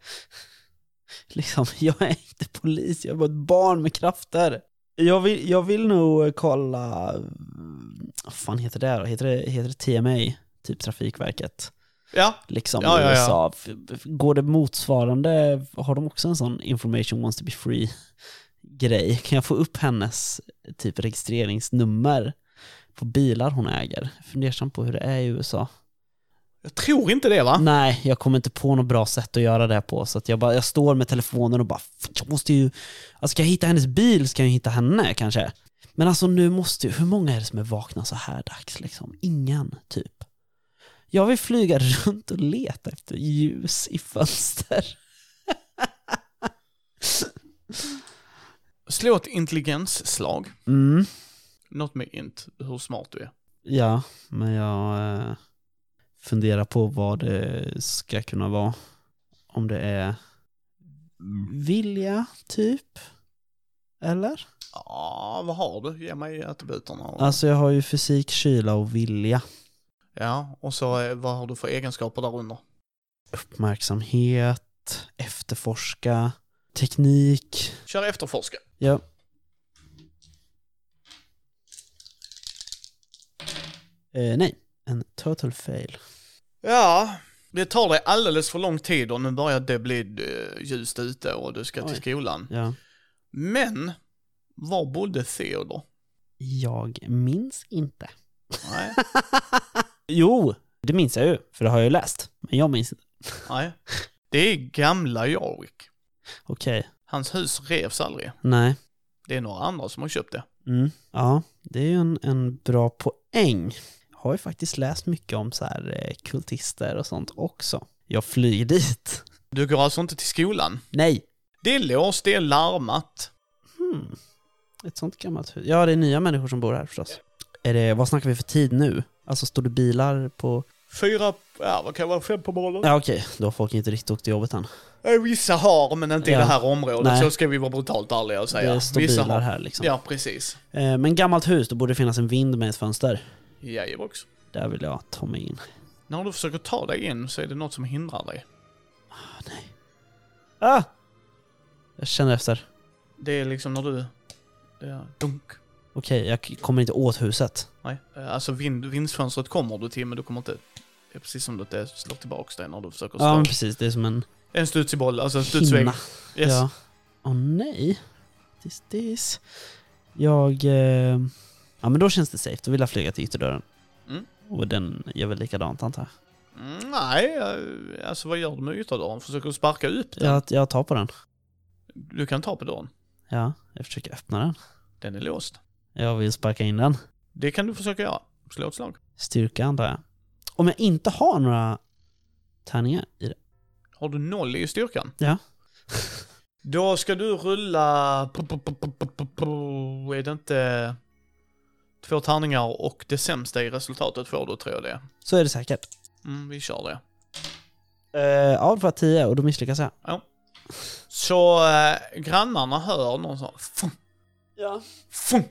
Liksom, jag är inte polis. Jag är bara ett barn med krafter. Jag vill, jag vill nog kolla... mm, Vad fan heter det då? Heter det, heter det TMA? Typ Trafikverket. ja, Liksom Ja, i ja, ja. USA. F- f- Går det motsvarande? Har de också en sån information wants to be free grej? Kan jag få upp hennes typ registreringsnummer på bilar hon äger? Fundersam på hur det är i USA. jag tror inte det va? Nej, jag kommer inte på något bra sätt att göra det på. Så att jag, bara, jag står med telefonen och bara, "Fan, jag måste ju, alltså ska jag hitta hennes bil ska jag ju hitta henne kanske. Men alltså nu måste ju, hur många är det som är vakna så här dags liksom? Ingen, typ. Jag vill flyga runt och leta efter ljus i fönster. Slå ett intelligensslag. Mm, Något med int, hur smart du är. ja, men jag eh, funderar på vad det ska kunna vara. Om det är vilja, typ. Eller? Ja, vad har du? Ge mig attributerna. och- Alltså jag har ju fysik, kyla och vilja. Ja, och så eh, vad har du för egenskaper där under? Uppmärksamhet, efterforska, teknik. Kör efterforska. Ja. Eh, nej, en total fail. Ja, det tar dig alldeles för lång tid och nu börjar det bli eh, ljust ute och du ska till Oj. skolan. Ja. Men, var bodde Theodor? Jag minns inte. Nej, Jo, det minns jag ju, för det har jag ju läst. Men jag minns inte. nej. Det är gamla Jarvik. Okej, Hans hus revs aldrig. nej. Det är några andra som har köpt det. Mm. Ja, det är ju en, en bra poäng. Jag har ju faktiskt läst mycket om så här eh, kultister och sånt också. Jag flyger dit. Du går alltså inte till skolan? Nej. Det är låst, det är larmat. Hmm. Ett sånt gammalt hus. Ja, det är nya människor som bor här förstås. Är det, vad snackar vi för tid nu? Alltså, står det bilar på... Fyra, ja vad kan det vara, fem på morgonen? Ja, okej. Då har folk inte riktigt åkt till jobbet än. Eh, Vissa har, men inte Ja. i det här området. Nej. Så ska vi vara brutalt ärliga och säga. Det står Vissa bilar har. här liksom. Ja, precis. Eh, Men gammalt hus, då borde det finnas en vind med ett fönster. Jajebox. Där vill jag ta mig in. När du försöker ta dig in så är det något som hindrar dig. Ah, nej. Ah! Jag känner efter. Det är liksom när du... Det är dunk. Okej, jag k- kommer inte åt huset. Nej. Eh, Alltså vind, vindsfönstret kommer du till, men du kommer inte... Det är precis som att det slår tillbaks dig när du försöker slå. Ja, men precis. Det är som en En studsig boll, alltså en studsväg. Hinna. Yes. Ja. Åh nej. This, this. Jag... Eh, ja men då känns det safe. Då vill jag flyga till ytterdörren. Mm. Och den gör väl likadant antar jag. Mm, nej, eh, alltså vad gör du med ytterdörren? Försöker du sparka upp den? jag. Jag tar på den. Du kan ta på dörren. Ja, jag försöker öppna den. Den är låst. Jag vill sparka in den. Det kan du försöka göra. Slå ett slag. Styrka antar jag. Om jag inte har några tärningar i det. Har du noll i styrkan? Ja. Då ska du rulla... pu- pu- pu- pu- pu- pu- Är det inte... Två tärningar och det sämsta i resultatet får du, tror jag det är. Så är det säkert. Mm, vi kör det. Uh, ja, det var 10 och då misslyckas jag. Så eh, grannarna hör någon sån... Fum, Ja. fum.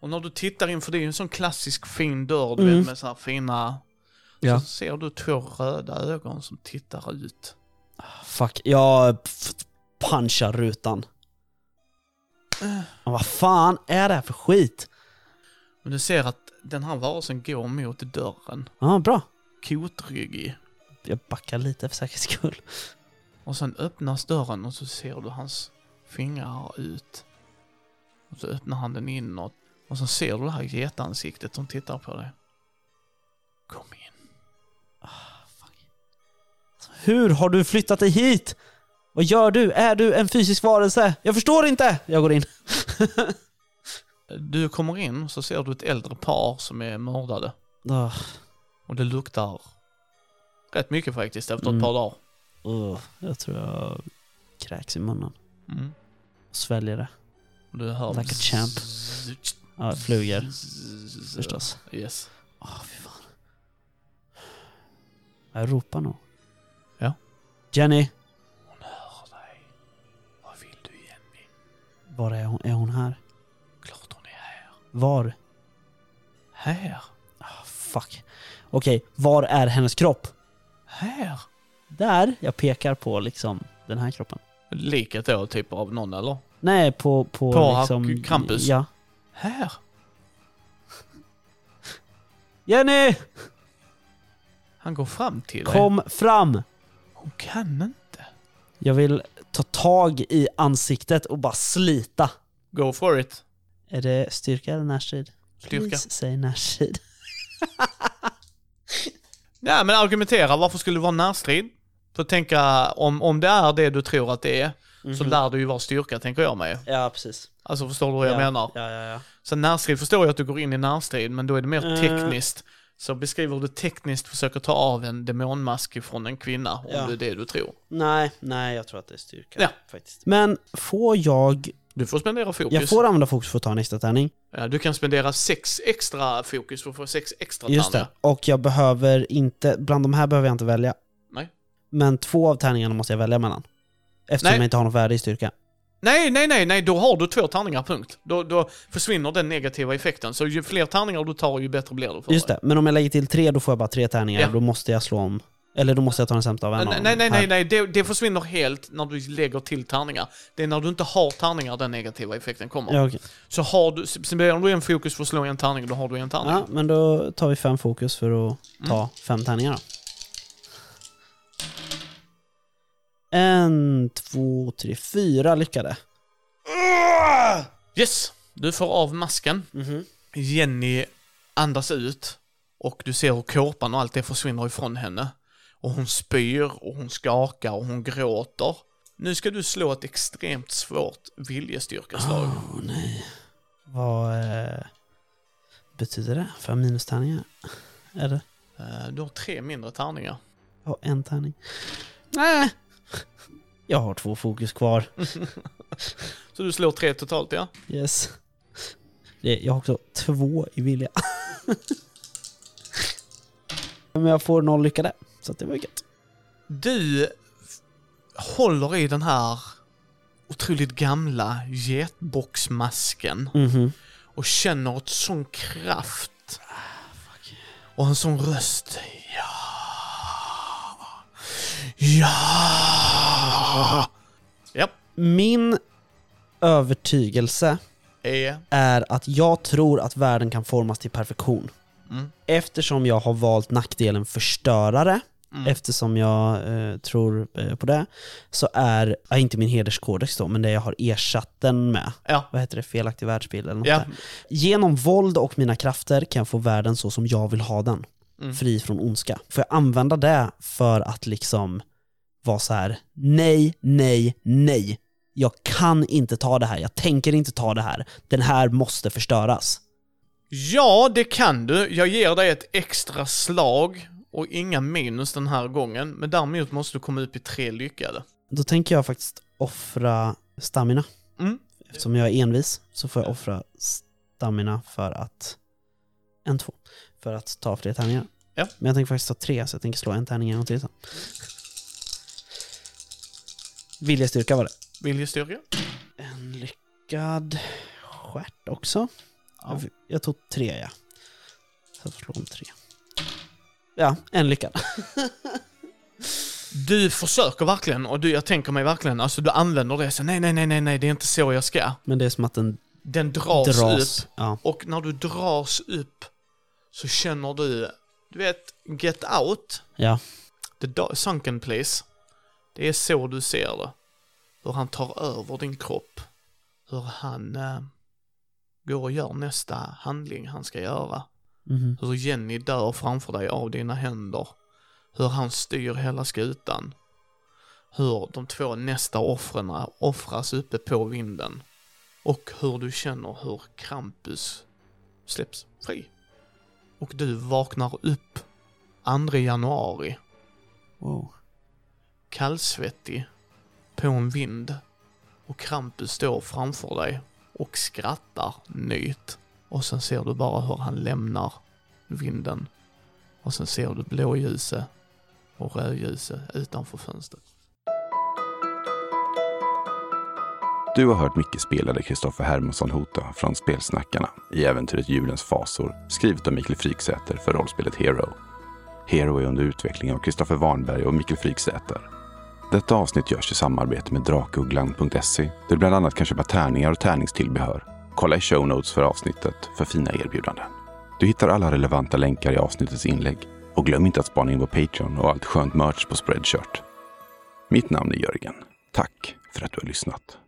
Och när du tittar in, för det är ju en sån klassisk fin dörr, du Mm. vet, med så här fina... Ja. Så ser du två röda ögon som tittar ut. Fuck, jag f- punchar rutan. Eh. Men vad fan är det här för skit? Men du ser att den här varelsen går mot dörren, Ja, bra. kotryggig. Jag backar lite för säkerhets skull. Och sen öppnas dörren och så ser du hans fingrar ut. Och så öppnar han den inåt. Och så ser du det här getansiktet som tittar på dig. Kom in. Hur har du flyttat dig hit? Vad gör du? Är du en fysisk varelse? Jag förstår inte! Jag går in. Du kommer in och så ser du ett äldre par som är mördade. Ah, Och det luktar rätt mycket faktiskt efter ett Mm. par dagar. åh, oh, jag tror jag kräks i munnen. Mm. Och sväljer det. Och du hör... Like a champ. Ja, det flyger förstås. Yes. Åh, fy fan. Jag ropar nog. Ja. Jenny! Hon hör dig. Vad vill du Jenny? Var är hon? Är hon här? Klart hon är här. Var? Här? Ah, fuck. Okej, var är hennes kropp? Här? Där. Jag pekar på liksom den här kroppen. Liket då, typ av någon eller? Nej, på... På, På liksom, Krampus? Ja. Här? Jenny! Han går fram till dig. Kom fram! Hon kan inte. Jag vill ta tag i ansiktet och bara slita. Go for it. Är det styrka eller närstrid? Styrka. Please, Säg närstrid. Nej men argumentera, varför skulle det vara närstrid? För tänka, om, om det är det du tror att det är, Mhm. så lär det ju vara styrka tänker jag mig. Ja, precis. Alltså förstår du vad jag ja. menar? Ja, ja, ja. Så närstrid förstår jag att du går in i närstrid, men då är det mer Eh. tekniskt. Så beskriver du tekniskt försöker ta av en demonmask från en kvinna, om Ja. det är det du tror. Nej, nej, jag tror att det är styrka. Ja. Faktiskt. Men får jag... Du får spendera fokus. Jag får använda fokus för att ta en extra tärning. Ja, Du kan spendera sex extra fokus för att få sex extra Just det. tärningar. Och jag behöver inte... Bland de här behöver jag inte välja. Nej. Men två av tärningarna måste jag välja mellan. Eftersom Nej. jag inte har något värde i styrka. Nej, nej, nej, nej, då har du två tärningar, punkt. Då, då försvinner den negativa effekten. Så ju fler tärningar du tar, ju bättre blir det för Just dig. det. Men om jag lägger till tre, då får jag bara tre tärningar. Ja. Då måste jag slå om... Eller då måste jag ta den sämsta av en av Nej, dem nej, nej, här. nej, nej. Det, det försvinner helt när du lägger till tärningar. Det är när du inte har tärningar den negativa effekten kommer. Ja, okej. Så har du, sen blir du en fokus för att slå en tärning, då har du en tärning. Ja, men då tar vi fem fokus för att Mm. ta fem tärningar då. En, två, tre, fyra lyckade. Yes! Du får av masken. Jenny andas ut och du ser hur kåpan och allt det försvinner ifrån henne. Och hon spyr och hon skakar och hon gråter. Nu ska du slå ett extremt svårt viljestyrkeslag. Åh nej. Vad eh, betyder det? För minustärningar? Eller? Eh, Du har tre mindre tärningar. Jag har en tärning. Nej. Jag har två fokus kvar. Så du slår tre totalt ja. Yes. Det- Jag har också två i vilja. Men jag får noll lyckade. Så att det var ju gött. Du f- håller i den här otroligt gamla getboxmasken Mhm. och känner ett sån kraft. Och en sån röst. Ja! Ja! Ja, Min övertygelse är... är att jag tror att världen kan formas till perfektion. Mm. Eftersom jag har valt nackdelen förstörare, Mm. eftersom jag eh, tror eh, på det, så är, ja, inte min hederskodex då, men det jag har ersatt den med, Ja. vad heter det, felaktig världsbild eller något Ja. där. Genom våld och mina krafter kan jag få världen så som jag vill ha den. Mm. Fri från ondska. Får jag använda det för att liksom vara så här: nej, nej, nej. jag kan inte ta det här, jag tänker inte ta det här, den här måste förstöras. Ja, det kan du. Jag ger dig ett extra slag och inga minus den här gången. Men däremot måste du komma upp i tre lyckade. Då tänker jag faktiskt offra stamina. Mm. Eftersom jag är envis så får jag offra stamina för att... En, två. För att ta fler tärningar. Ja. Men jag tänker faktiskt ta tre, så jag tänker slå en tärning en gång till sen. Viljestyrka var det. Viljestyrka? En lyckad stjärt också. Ja. Jag- Jag tog tre, ja. Så jag får slå om tre. Ja, en lyckad. Du försöker verkligen och du, jag tänker mig verkligen, alltså du använder det så nej, nej, nej, nej, nej, det är inte så jag ska. Men det är som att den Den dras, dras. upp Ja. och när du dras upp så känner du, du vet, get out, ja. the do- sunken place. Det är så du ser det. Hur han tar över din kropp. Hur han eh, går och gör nästa handling han ska göra. Mhm. Hur Jenny dör framför dig av dina händer. Hur han styr hela skutan. Hur de två nästa offren offras uppe på vinden. Och hur du känner hur Krampus släpps fri. Och du vaknar upp 2 januari, Wow. kallsvettig, på en vind. Och Krampus står framför dig och skrattar nytt. Och sen ser du bara hur han lämnar vinden. Och sen ser du blåljuset och rödljuset utanför fönstret. Du har hört Micke spela det Kristoffer Hermansson Hota från Spelsnackarna i äventyret Julens fasor, skrivet av Mikael Fryksäter för rollspelet Hero. Hero är under utveckling av Kristoffer Warnberg och Mikael Fryksäter. Detta avsnitt görs i samarbete med Drakugglan.se, där du bland annat kan köpa tärningar och tärningstillbehör. Kolla i show notes för avsnittet för fina erbjudanden. Du hittar alla relevanta länkar i avsnittets inlägg. Och glöm inte att spana in vår Patreon och allt skönt merch på Spreadshirt. Mitt namn är Jörgen. Tack för att du har lyssnat.